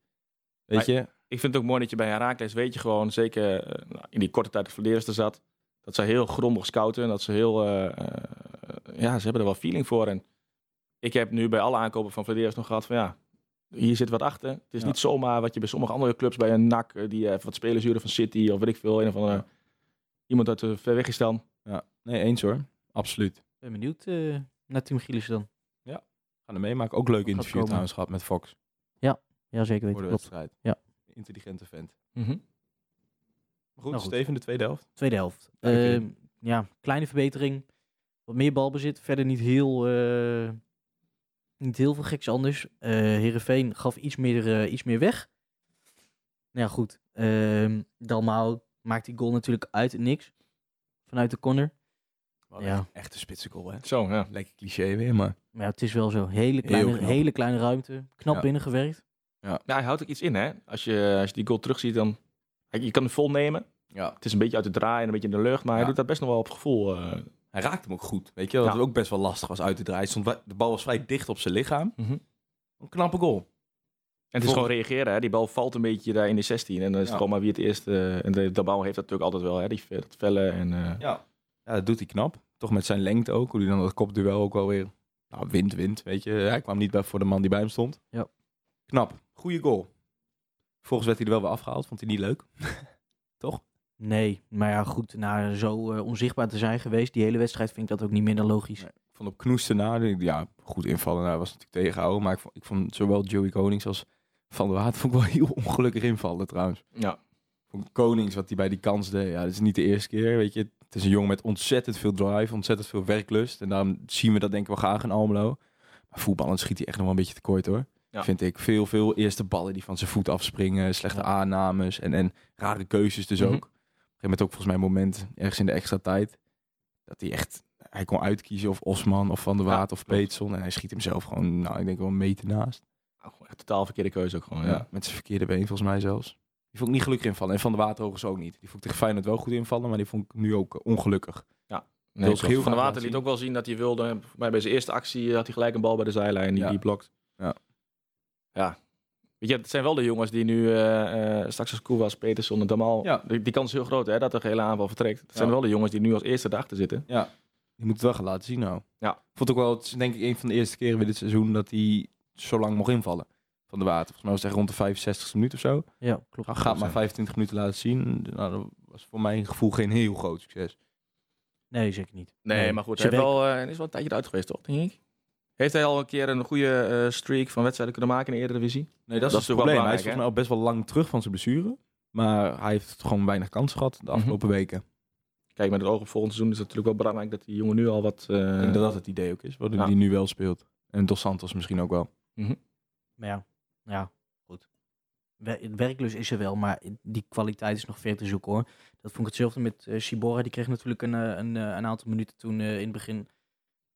Speaker 1: Weet
Speaker 3: Maar-
Speaker 1: je?
Speaker 3: ik vind het ook mooi dat je bij Herakles weet je gewoon, zeker eh, nou, in die korte tijd dat Vlederis er zat, dat ze heel grondig scouten en dat ze heel, eh, eh, ja, ze hebben er wel feeling voor. En ik heb nu bij alle aankopen van Vlederis nog gehad van ja, hier zit wat achter. Het is
Speaker 1: Ja.
Speaker 3: niet zomaar wat je bij sommige andere clubs, bij een NAC, eh, die eh, wat spelers huren van City of weet ik veel, een of andere,
Speaker 1: Ja.
Speaker 3: iemand uit de ver weg is dan.
Speaker 1: Ja. Nee, eens hoor. Absoluut.
Speaker 2: ben benieuwd eh, naar Team Gielissen dan.
Speaker 1: Gaan er meemaken. Ook leuk interview
Speaker 2: komen.
Speaker 1: trouwens gehad met Fox
Speaker 2: Ja, zeker
Speaker 1: voor de
Speaker 2: weten. Klopt.
Speaker 1: wedstrijd.
Speaker 2: Ja.
Speaker 1: Intelligente vent. Maar goed,
Speaker 2: Nou goed.
Speaker 1: Steven, de tweede helft.
Speaker 2: Tweede helft.
Speaker 1: Oké.
Speaker 2: Ehm, ja, kleine verbetering. Wat meer balbezit. Verder niet heel, eh, niet heel veel geks anders. Eh Heerenveen gaf iets meer, eh, iets meer weg. Nou ja, goed. Ehm Dalmau maakt die goal natuurlijk uit het niks. Vanuit de corner.
Speaker 1: Wel
Speaker 2: Ja.
Speaker 1: echt- Echt een spitse goal, hè?
Speaker 3: Zo, ja.
Speaker 1: Lekker cliché weer, maar...
Speaker 2: Maar ja, het is wel zo. Hele
Speaker 1: Heel
Speaker 2: kleine,
Speaker 1: knap.
Speaker 2: hele kleine ruimte. Knap
Speaker 1: Ja.
Speaker 2: binnengewerkt.
Speaker 3: Nou, hij houdt ook iets in hè. Als je, als je die goal terugziet dan, je kan hem vol nemen.
Speaker 1: Ja.
Speaker 3: Het is een beetje uit de draai en een beetje in de lucht, maar hij
Speaker 1: Ja.
Speaker 3: doet dat best nog wel op gevoel. eh,
Speaker 1: Hij raakte hem ook goed, weet je wel. Dat
Speaker 3: Ja.
Speaker 1: het ook best wel lastig was uit te draaien. Stond, wa- de bal was vrij dicht op zijn lichaam.
Speaker 3: Mhm.
Speaker 1: Een knappe goal.
Speaker 3: En het is gewoon reageren, hè? Die bal valt een beetje daar in de 16. En dan is het
Speaker 1: Ja.
Speaker 3: gewoon maar wie het eerst... eh, en de, de bal heeft dat natuurlijk altijd wel, hè? Die, ve- dat vellen en... eh,
Speaker 1: Ja. ja, dat doet hij knap. Toch met zijn lengte ook. Hoe hij dan dat kopduel ook wel weer... Nou, wint, wint, weet je. Hij kwam niet bij, voor de man die bij hem stond.
Speaker 2: Ja.
Speaker 1: Knap. Goeie goal. Vervolgens werd hij er wel weer afgehaald. Vond hij niet leuk.
Speaker 2: Nee, maar ja, goed. Na zo eh, onzichtbaar te zijn geweest, die hele wedstrijd, vind ik dat ook niet minder logisch.
Speaker 1: Nee. Ik vond op knoesten na... Ja, goed invallen. Nou, was natuurlijk tegenhouden. Maar ik vond, ik vond zowel Joey Konings als Van der Waard... Vond ik wel heel ongelukkig invallen trouwens.
Speaker 3: ja.
Speaker 1: van Konings, wat hij bij die kans deed. Ja, dat is niet de eerste keer, weet je. Het is een jongen met ontzettend veel drive, ontzettend veel werklust. En daarom zien we dat denk ik wel graag in Almelo. Maar voetballend schiet hij echt nog wel een beetje tekort, hoor.
Speaker 3: Ja.
Speaker 1: Vind ik. Veel, veel eerste ballen die van zijn voet afspringen. Slechte aannames en, en rare keuzes dus
Speaker 3: Mhm.
Speaker 1: ook. Op een gegeven moment ook volgens mij een moment, ergens in de extra tijd, dat hij echt... Hij kon uitkiezen of Osman of Van der
Speaker 3: Ja,
Speaker 1: Waard of
Speaker 3: klopt.
Speaker 1: Peetson. En hij schiet hem zelf gewoon, nou, ik denk wel een meter naast.
Speaker 3: Nou, gewoon echt totaal verkeerde keuze ook gewoon, ja.
Speaker 1: Ja, met zijn verkeerde been volgens mij zelfs. Die vond ik niet gelukkig invallen. En Van de Waterhoogers ook niet. Die vond ik tegen Feyenoord wel goed invallen, maar die vond ik nu ook eh, ongelukkig.
Speaker 3: Nee,
Speaker 1: Wil Schiel
Speaker 3: van der
Speaker 1: graag
Speaker 3: Water
Speaker 1: laten
Speaker 3: liet
Speaker 1: zien.
Speaker 3: ook wel zien dat hij wilde. Volgens mij bij zijn eerste actie had hij gelijk een bal bij de zijlijn die
Speaker 1: Ja.
Speaker 3: die blokt.
Speaker 1: Ja.
Speaker 3: Ja. Weet je, het zijn wel de jongens die nu eh, eh, straks als Koewas, Peterson en Damal...
Speaker 1: Ja.
Speaker 3: Die, die kans is heel groot, hè? Dat de hele aanval vertrekt. Het zijn
Speaker 1: Ja.
Speaker 3: wel de jongens die nu als eerste erachter zitten.
Speaker 1: Die moet het wel gaan laten zien nou.
Speaker 3: Ja.
Speaker 1: Ik Vond ook wel, het is denk ik een van de eerste keren weer dit seizoen dat hij zo lang mocht invallen. Van de Water. Volgens mij was het echt rond de 65 minuut of zo.
Speaker 2: Ja, klopt.
Speaker 1: Ga het maar 25 minuten laten zien. Nou, dat was voor mijn gevoel geen heel groot succes.
Speaker 2: Nee, zeker niet.
Speaker 3: Nee, maar goed.
Speaker 2: Ze
Speaker 3: Hij heeft
Speaker 2: werken-
Speaker 3: wel, eh, hij is wel een tijdje eruit geweest, toch? Denk ik. Heeft hij al een keer een goede eh, streak van wedstrijden kunnen maken in de Eredivisie?
Speaker 1: Nee, dat is dus
Speaker 3: is
Speaker 1: het
Speaker 3: natuurlijk wel
Speaker 1: probleem. Hij is
Speaker 3: belangrijk,
Speaker 1: volgens mij al best wel lang terug van zijn blessure. Maar hij heeft gewoon weinig kans gehad de afgelopen weken.
Speaker 3: Kijk, met het oog op volgend seizoen is het natuurlijk wel belangrijk dat die jongen nu al wat... eh,
Speaker 1: Ik denk dat dat het idee ook is, wat hij
Speaker 3: Ja.
Speaker 1: nu wel speelt. En Dos Santos misschien ook wel.
Speaker 2: Maar ja, ja goed. Wer- Werklust is er wel, maar die kwaliteit is nog ver te zoeken hoor. Dat vond ik hetzelfde met eh Shibora. Die kreeg natuurlijk een, eh, een, eh, een aantal minuten toen eh, in het begin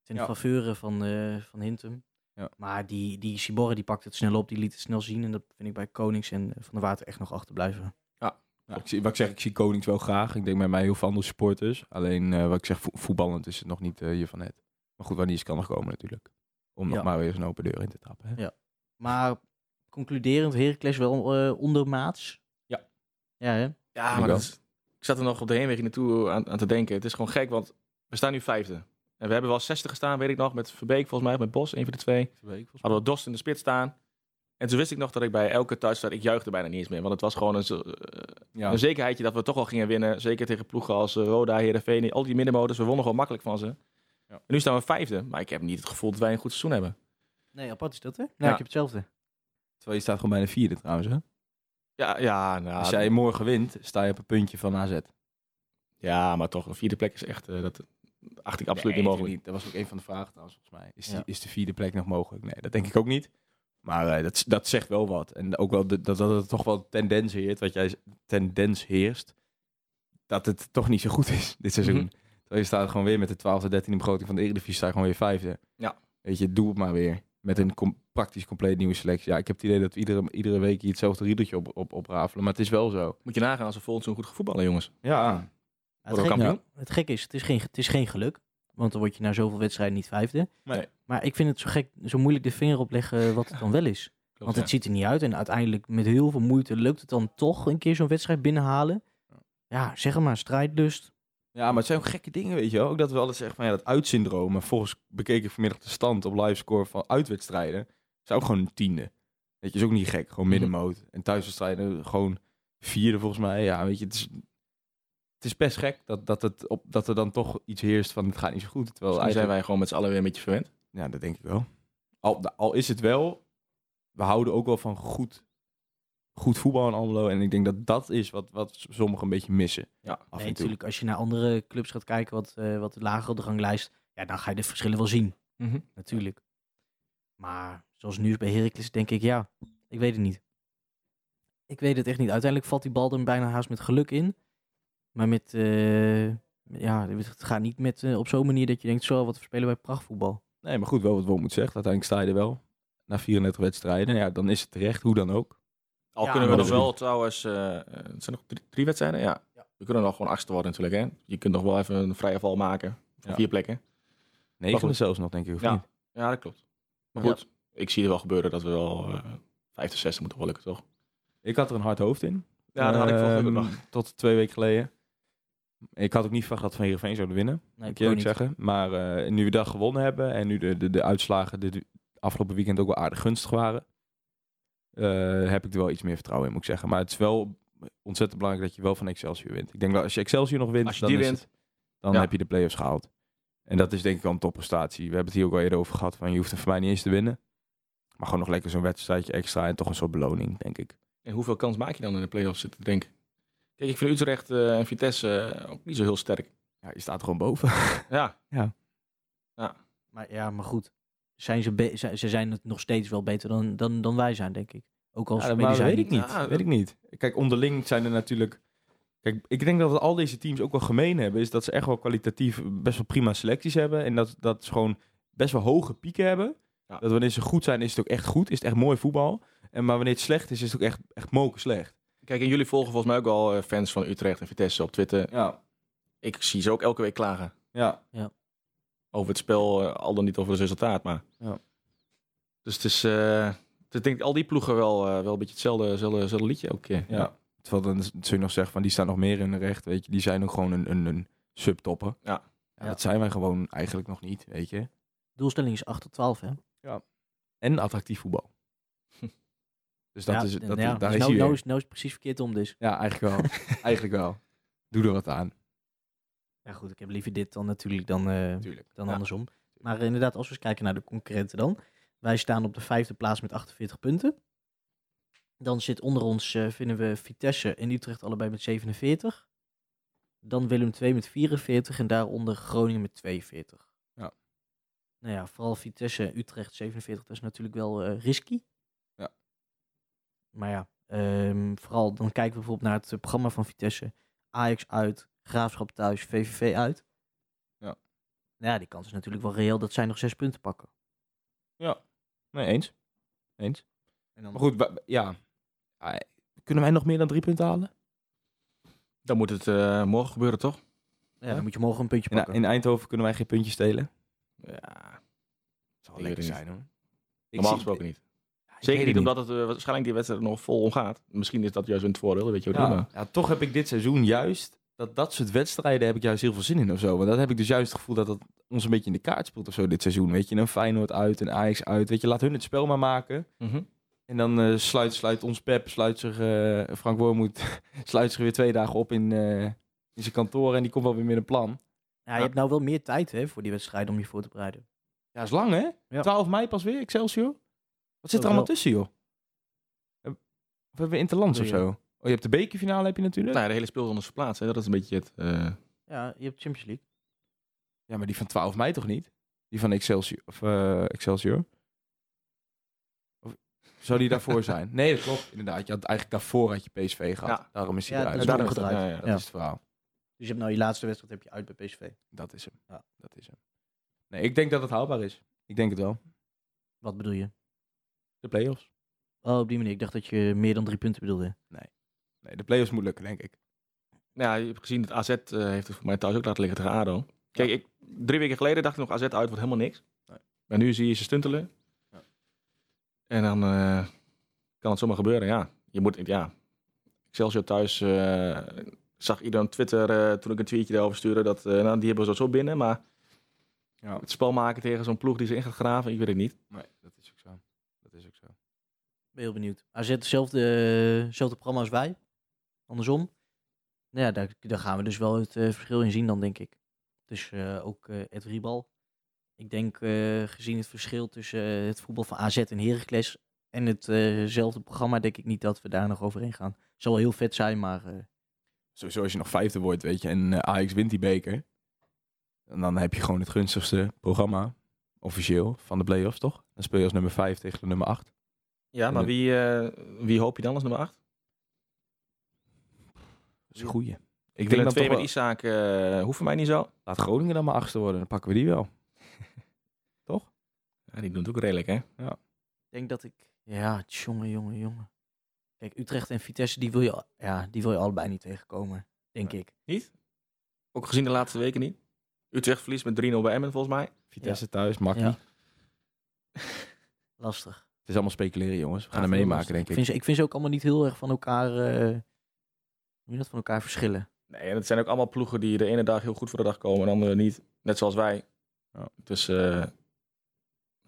Speaker 2: ten
Speaker 1: Ja.
Speaker 2: faveur van, eh, van Hintem.
Speaker 1: Ja.
Speaker 2: Maar die, die Sibora die pakt het snel op, die liet het snel zien. En dat vind ik bij Konings en Van der Water echt nog achterblijven.
Speaker 1: Ja, Nou. ik zie, wat ik zeg, ik zie Konings wel graag. Ik denk bij mij heel veel andere supporters. Alleen eh, wat ik zeg, vo- voetballend is het nog niet hier van het. Maar goed, wanneer is kan nog komen natuurlijk. Om nog
Speaker 2: Ja.
Speaker 1: maar weer eens een open deur in te trappen. Hè?
Speaker 2: Ja. Maar concluderend, Heracles wel eh, ondermaats.
Speaker 1: Ja.
Speaker 2: Ja, hè?
Speaker 3: Ja,
Speaker 1: Ik
Speaker 3: maar
Speaker 1: wel.
Speaker 3: dat is- ik zat er nog op de heenweg hier naartoe aan, aan te denken. Het is gewoon gek, want we staan nu vijfde. En we hebben wel 60 gestaan, weet ik nog, met Verbeek volgens mij, of met Bos, een van de twee. Hadden we Dost in de spits staan. En toen wist ik nog dat ik bij elke thuisstart, ik juichte bijna niet eens meer. Want het was gewoon een, zo- eh,
Speaker 1: Ja.
Speaker 3: een zekerheidje dat we toch wel gingen winnen. Zeker tegen ploegen als eh, Roda, Heerenveen, al die middenmotors. We wonnen gewoon makkelijk van ze. En nu staan we vijfde. Maar ik heb niet het gevoel dat wij een goed seizoen hebben.
Speaker 2: Nee, apart is dat, hè? Nou,
Speaker 3: Ja.
Speaker 2: ik heb hetzelfde.
Speaker 1: Terwijl je staat gewoon bijna vierde trouwens. Hè?
Speaker 3: Ja, ja, nou,
Speaker 1: Als jij morgen wint, sta je op een puntje van AZ.
Speaker 3: ja maar toch, een vierde plek is echt, eh, dat acht ik absoluut
Speaker 1: Nee,
Speaker 3: niet
Speaker 1: natuurlijk
Speaker 3: mogelijk.
Speaker 1: niet. Dat was ook een van de vragen trouwens, volgens mij. Is, die-
Speaker 2: Ja.
Speaker 1: is de vierde plek nog mogelijk? Nee, dat denk ik ook niet. Maar eh, dat, dat zegt wel wat. En ook wel de- dat, dat het toch wel tendens heerst, wat jij z- tendens heerst, dat het toch niet zo goed is dit seizoen.
Speaker 3: Mhm.
Speaker 1: Terwijl je staat gewoon weer met de 12e, 13e begroting van de Eredivisie, sta je gewoon weer vijfde.
Speaker 3: Ja.
Speaker 1: Weet je, doe het maar weer. Met een com- praktisch compleet nieuwe selectie. Ja, ik heb het idee dat we iedere, iedere week hier hetzelfde riedeltje op, op, oprafelen. Maar het is wel zo.
Speaker 3: Moet je nagaan als we volgens zo'n goed gaan voetballen, jongens.
Speaker 1: Ja,
Speaker 2: Maar
Speaker 3: Worden we
Speaker 2: gekke-
Speaker 3: kampioen?
Speaker 2: het gekke is, het is, geen, het is geen geluk. Want dan word je na zoveel wedstrijden niet vijfde.
Speaker 1: Nee.
Speaker 2: Maar ik vind het zo gek, zo moeilijk de vinger opleggen wat het dan wel is. Want het
Speaker 3: ja.
Speaker 2: ziet er niet uit. En uiteindelijk met heel veel moeite lukt het dan toch een keer zo'n wedstrijd binnenhalen. Ja, zeg het maar, strijdlust.
Speaker 1: Ja, maar het zijn ook gekke dingen, weet je wel. Ook dat we altijd zeggen van ja, dat uitsyndroom. En volgens bekeek ik vanmiddag de stand op livescore van uitwedstrijden. Is ook gewoon een tiende. Weet je, is ook niet gek. Gewoon middenmoot. En thuiswedstrijden gewoon vierde volgens mij. Ja, weet je, het is, het is best gek dat, dat, het op, dat er dan toch iets heerst van het gaat niet zo goed. Terwijl
Speaker 3: Misschien
Speaker 1: eigenlijk,
Speaker 3: zijn wij gewoon met z'n allen weer een beetje verwend.
Speaker 1: Ja, dat denk ik wel. Al, nou, al is het wel, we houden ook wel van goed, goed voetbal in Almelo. En ik denk dat dat is wat, wat sommigen een beetje missen.
Speaker 3: Ja.
Speaker 1: af
Speaker 2: nee,
Speaker 1: en toe.
Speaker 2: natuurlijk, als je naar andere clubs gaat kijken wat, eh, wat lager op de ranglijst. Ja, dan ga je de verschillen wel zien.
Speaker 1: Mhm.
Speaker 2: Natuurlijk. Maar zoals nu is bij Heracles, denk ik, ja, ik weet het niet. Ik weet het echt niet. Uiteindelijk valt die bal er bijna haast met geluk in. Maar met, eh, ja, het gaat niet met, eh, op zo'n manier dat je denkt, zo, wat we spelen bij prachtvoetbal.
Speaker 1: Nee, maar goed, wel wat Wom moet zeggen. Uiteindelijk sta je er wel. Na 34 wedstrijden. Ja, dan is het terecht, hoe dan ook.
Speaker 3: Al
Speaker 2: Ja,
Speaker 3: kunnen we
Speaker 1: maar
Speaker 3: nog
Speaker 1: dat-
Speaker 3: wel trouwens, eh, eh, het zijn nog drie, drie wedstrijden, ja. We kunnen nog gewoon achtste worden natuurlijk, hè. Je kunt nog wel even een vrije val maken van
Speaker 1: Ja.
Speaker 3: vier plekken.
Speaker 1: Negen
Speaker 3: goed.
Speaker 1: zelfs nog, denk ik. Of
Speaker 3: Ja.
Speaker 1: niet?
Speaker 3: Ja, dat klopt. Maar
Speaker 1: Ja.
Speaker 3: goed, ik zie het wel gebeuren dat we wel eh, vijfde, zesde moeten wel lukken, toch?
Speaker 1: Ik had er een hard hoofd in.
Speaker 3: Ja, dat had ik
Speaker 1: Ehm,
Speaker 3: vorige week ook nog.
Speaker 1: Tot twee weken geleden. Ik had ook niet verwacht dat Van Heerenveen zouden winnen. moet
Speaker 2: Nee,
Speaker 1: ik eerlijk
Speaker 2: niet.
Speaker 1: zeggen. Maar eh, nu we dat gewonnen hebben. En nu de, de, de uitslagen dit afgelopen weekend ook wel aardig gunstig waren. eh, heb ik er wel iets meer vertrouwen in, moet ik zeggen. Maar het is wel ontzettend belangrijk dat je wel van Excelsior wint. Ik denk dat als je Excelsior nog wint,
Speaker 3: Als je
Speaker 1: dan,
Speaker 3: die
Speaker 1: is
Speaker 3: wint,
Speaker 1: het- dan
Speaker 3: ja.
Speaker 1: heb je de play-offs gehaald. En dat is denk ik wel een topprestatie. We hebben het hier ook al eerder over gehad. Van, je hoeft er voor mij niet eens te winnen. Maar gewoon nog lekker zo'n wedstrijdje extra en toch een soort beloning, denk ik.
Speaker 3: En hoeveel kans maak je dan in de play-offs zitten, denk ik? Kijk, ik vind Utrecht eh, en Vitesse eh, ook niet zo heel sterk.
Speaker 1: Ja, je staat gewoon boven.
Speaker 3: Ja,
Speaker 2: Maar ja, maar goed. Zijn ze, be- ze ze zijn het nog steeds wel beter dan, dan, dan wij zijn, denk ik. Ook al
Speaker 1: Ja,
Speaker 2: spelen
Speaker 1: maar
Speaker 2: zij
Speaker 1: weet ik niet.
Speaker 3: Ja,
Speaker 1: weet ik niet. Kijk, onderling zijn er natuurlijk. Kijk, ik denk dat wat al deze teams ook wel gemeen hebben, is dat ze echt wel kwalitatief best wel prima selecties hebben. En dat, dat ze gewoon best wel hoge pieken hebben.
Speaker 3: Ja.
Speaker 1: Dat wanneer ze goed zijn, is het ook echt goed. Is het echt mooi voetbal. En maar wanneer het slecht is, is het ook echt, echt moken slecht.
Speaker 3: kijk, en jullie volgen volgens mij ook wel eh, fans van Utrecht en Vitesse op Twitter.
Speaker 1: Ja.
Speaker 3: Ik zie ze ook elke week klagen
Speaker 1: Ja.
Speaker 3: over het spel, eh, al dan niet over het resultaat, maar...
Speaker 1: Ja.
Speaker 3: Dus het is, eh, ik denk al die ploegen wel, eh, wel een beetje hetzelfde, hetzelfde, hetzelfde liedje eh. elke keer.
Speaker 1: ja. Terwijl dan zul je nog zeggen van die staan nog meer in hun recht. Weet je, die zijn ook gewoon een, een, een subtopper.
Speaker 3: Ja.
Speaker 1: ja. Dat zijn wij gewoon eigenlijk nog niet, weet je.
Speaker 2: Doelstelling is 8 tot 12, hè?
Speaker 1: En attractief voetbal. Dus dat
Speaker 2: Ja,
Speaker 1: is, dat,
Speaker 2: ja,
Speaker 1: daar
Speaker 2: dus
Speaker 1: is
Speaker 2: nou,
Speaker 1: hij
Speaker 2: nou,
Speaker 1: weer.
Speaker 2: is, nou is het precies verkeerd om dus.
Speaker 1: Ja, eigenlijk wel. eigenlijk wel. Doe er wat aan.
Speaker 2: Ja goed, ik heb liever dit dan natuurlijk dan, eh,
Speaker 1: Tuurlijk.
Speaker 2: dan
Speaker 1: Ja.
Speaker 2: andersom. Maar eh, inderdaad, als we eens kijken naar de concurrenten dan. Wij staan op de vijfde plaats met 48 punten. Dan zit onder ons, eh, vinden we Vitesse en Utrecht allebei met 47. Dan Willem II met 44 en daaronder Groningen met 42.
Speaker 1: Ja.
Speaker 2: Nou ja, vooral Vitesse en Utrecht 47, dat is natuurlijk wel eh, risky.
Speaker 1: Ja.
Speaker 2: Maar ja, ehm, vooral dan kijken we bijvoorbeeld naar het eh, programma van Vitesse. Ajax uit, Graafschap thuis, VVV uit. Nou ja, die kans is natuurlijk wel reëel dat zij nog zes punten pakken.
Speaker 1: Ja. Nee, eens. Eens.
Speaker 2: En dan,
Speaker 1: Maar goed, wa- ja. Ah, Kunnen wij nog meer dan drie punten halen?
Speaker 3: Dan moet het eh, morgen gebeuren, toch?
Speaker 2: ja, dan moet je morgen een puntje
Speaker 1: In,
Speaker 2: pakken.
Speaker 1: in Eindhoven kunnen wij geen puntjes stelen.
Speaker 3: Ja,
Speaker 1: Zal
Speaker 3: Ik weet het niet.
Speaker 1: hoor. Ik
Speaker 3: normaal
Speaker 1: zie-
Speaker 3: gesproken niet.
Speaker 1: Ja, ik
Speaker 3: Zeker
Speaker 1: weet
Speaker 3: niet,
Speaker 1: het
Speaker 3: omdat het eh, waarschijnlijk die wedstrijd er nog vol om gaat. Misschien is dat juist een voordeel, dat weet je wat
Speaker 1: Ja, ja, toch heb ik dit seizoen juist dat dat soort wedstrijden heb ik juist heel veel zin in of zo. Want dat heb ik dus juist het gevoel dat dat ons een beetje in de kaart speelt of zo dit seizoen. Weet je, een Feyenoord uit, een Ajax uit. Weet je, laat hun het spel maar maken. En dan eh, sluit, sluit ons Pep, sluit zich eh, Frank Wormoed, sluit zich weer twee dagen op in, eh, in zijn kantoor en die komt wel weer met een plan.
Speaker 2: Ja, je hebt nou wel meer tijd hè, voor die wedstrijd om je voor te bereiden.
Speaker 1: Ja, is lang hè?
Speaker 2: Ja.
Speaker 1: 12 mei pas weer, Excelsior. Wat zit
Speaker 2: wel.
Speaker 1: er allemaal tussen joh? Heb- Eh, Of hebben we Interlands of
Speaker 2: Wil je-
Speaker 1: zo? Oh, je hebt de bekerfinale heb je natuurlijk.
Speaker 3: Nou ja, de hele speelronde is verplaatst. Hè? Dat is een beetje het... eh,
Speaker 2: Ja, je hebt Champions League.
Speaker 1: Ja, maar die van 12 mei toch niet? Die van Excelsior. Of, eh, Excelsior. Of, zou die daarvoor zijn? Nee, dat klopt. Inderdaad, je had eigenlijk daarvoor had je PSV gehad.
Speaker 3: Ja.
Speaker 1: Daarom is hij
Speaker 2: Ja,
Speaker 1: eruit.
Speaker 2: dat is
Speaker 1: daarom
Speaker 2: ook
Speaker 1: dat,
Speaker 2: gedraaid.
Speaker 3: ja, ja.
Speaker 1: dat
Speaker 2: Ja.
Speaker 1: is het verhaal.
Speaker 2: Dus je hebt nou je laatste wedstrijd heb je uit bij PSV.
Speaker 1: Dat is hem.
Speaker 2: Ja.
Speaker 1: Dat is hem. Nee, ik denk dat het haalbaar is. Ik denk het wel.
Speaker 2: Wat bedoel je?
Speaker 1: De play-offs.
Speaker 2: Oh, op die manier. Ik dacht dat je meer dan drie punten bedoelde.
Speaker 1: Nee, de play-offs moet lukken, denk ik.
Speaker 3: Nou ja, je hebt gezien dat AZ eh, heeft het voor mij thuis ook laten liggen tegen ADO. Kijk, ik, drie weken geleden dacht ik nog AZ uit wordt helemaal niks.
Speaker 1: Nee.
Speaker 3: Maar nu zie je ze stuntelen.
Speaker 1: Ja.
Speaker 3: En dan eh, kan het zomaar gebeuren, ja. Je moet, ja. Excelsior thuis eh, zag iedereen op Twitter eh, toen ik een tweetje daarover stuurde dat eh, nou, die hebben ze zo binnen. Maar
Speaker 1: Ja.
Speaker 3: het spel maken tegen zo'n ploeg die ze in gaat graven, ik weet het niet.
Speaker 1: Nee, dat is ook zo. Dat is ook zo.
Speaker 2: Ben heel benieuwd. AZ hetzelfde, eh, hetzelfde programma als wij. Andersom. Nou ja, daar, daar gaan we dus wel het eh, verschil in zien dan, denk ik. Dus eh, ook eh Ed Riebal. Ik denk, eh, gezien het verschil tussen eh, het voetbal van AZ en Heracles en hetzelfde programma, denk ik niet dat we daar nog overheen gaan. Zal wel heel vet zijn, maar eh,
Speaker 1: Sowieso als je nog vijfde wordt, weet je, en eh, Ajax wint die beker. En dan heb je gewoon het gunstigste programma, officieel, van de play-offs, toch? Dan speel je als nummer 5 tegen de nummer 8.
Speaker 3: Ja, maar
Speaker 1: maar
Speaker 3: wie, eh, wie hoop je dan als nummer 8?
Speaker 1: Dat is een goeie.
Speaker 3: Ik
Speaker 1: denk
Speaker 3: denk
Speaker 1: dat
Speaker 3: dat twee
Speaker 1: toch
Speaker 3: met Isaac eh, hoeven mij niet zo.
Speaker 1: Laat Groningen dan maar achtste worden, dan pakken we die wel.
Speaker 3: Ja, die doen het ook redelijk, hè?
Speaker 2: Ik denk dat ik... Ja, jongen, jongen, jongen. Kijk, Utrecht en Vitesse, die wil je, al- ja, die wil je allebei niet tegenkomen, denk ik.
Speaker 3: Ook gezien de laatste weken niet. Utrecht verliest met 3-0 bij Emmen, volgens mij.
Speaker 1: Vitesse thuis, makkelijk.
Speaker 2: Ja. Lastig.
Speaker 1: Het is allemaal speculeren, jongens. We gaan
Speaker 2: Ja,
Speaker 1: er
Speaker 2: veel
Speaker 1: meemaken,
Speaker 2: lastig.
Speaker 1: denk ik.
Speaker 2: Vind ze, ik vind ze ook allemaal niet heel erg van elkaar... eh, hoe noem je dat, van elkaar verschillen.
Speaker 3: Nee, en het zijn ook allemaal ploegen die de ene dag heel goed voor de dag komen en de andere niet. Net zoals wij.
Speaker 1: Ja.
Speaker 3: Dus, eh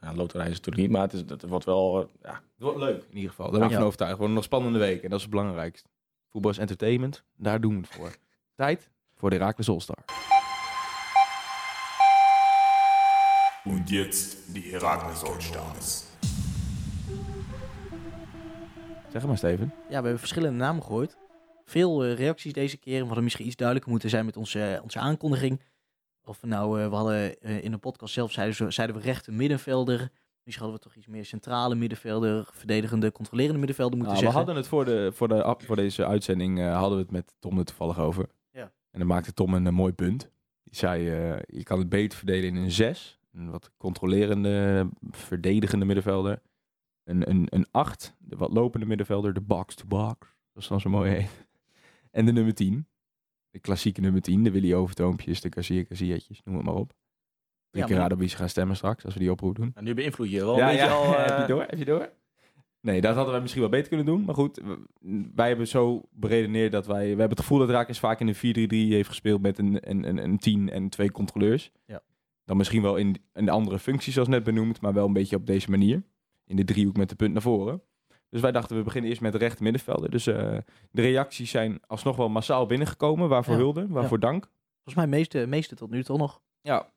Speaker 3: ja, loterij is het natuurlijk niet, maar het, is, het wordt wel... eh, ja.
Speaker 1: Het wordt leuk, in ieder geval. Daar ben ik
Speaker 2: Ja.
Speaker 1: van overtuigd. Worden nog spannende weken, en dat is het belangrijkste. Voetbal is entertainment, daar doen we het voor. Tijd voor de Heracles All-Star.
Speaker 4: Und jetzt die Herakles Oldstars.
Speaker 1: Zeg het maar, Steven.
Speaker 2: Ja, we hebben verschillende namen gehoord. Veel eh, reacties deze keer. We hadden misschien iets duidelijker moeten zijn met onze, eh, onze aankondiging. Of we nou, eh, we hadden eh, in de podcast zelf zeiden, ze- zeiden we rechter middenvelder. Misschien hadden we toch iets meer centrale middenvelder, verdedigende, controlerende middenvelder moeten
Speaker 1: Nou, we
Speaker 2: zeggen.
Speaker 1: hadden het voor, de, voor, de, voor deze uitzending eh, hadden we het met Tom er toevallig over.
Speaker 2: Ja.
Speaker 1: En dan maakte Tom een eh, mooi punt. Die zei, eh, je kan het beter verdelen in een zes. Een wat controlerende, verdedigende middenvelder. Een, een, een acht, de wat lopende middenvelder. De box-to-box, dat is dan zo mooi heet. En de nummer tien. De klassieke nummer tien. De Willy Overtoompjes, de Garcia Garcia'tjes, noem het maar op. Drie
Speaker 2: Ja,
Speaker 1: keer
Speaker 2: maar-
Speaker 1: raden op wie ze gaan stemmen straks, als we die oproep doen
Speaker 3: En nu beïnvloed je wel een beetje al... eh,
Speaker 1: heb je door? Heb je door? Nee, dat hadden wij misschien wel beter kunnen doen. Maar goed, w- wij hebben zo beredeneerd dat wij... We hebben het gevoel dat Raakers vaak in een 4-3-3 heeft gespeeld met een, een, een, een 10 en twee controleurs.
Speaker 2: Ja.
Speaker 1: Dan misschien wel in, in andere functies zoals net benoemd, maar wel een beetje op deze manier. In de driehoek met de punt naar voren. Dus wij dachten, we beginnen eerst met de rechter middenvelder. Dus eh, de reacties zijn alsnog wel massaal binnengekomen. Waarvoor
Speaker 2: Ja.
Speaker 1: hulde, waarvoor dank.
Speaker 2: Volgens mij meeste, meeste tot nu toe nog.
Speaker 1: Ja,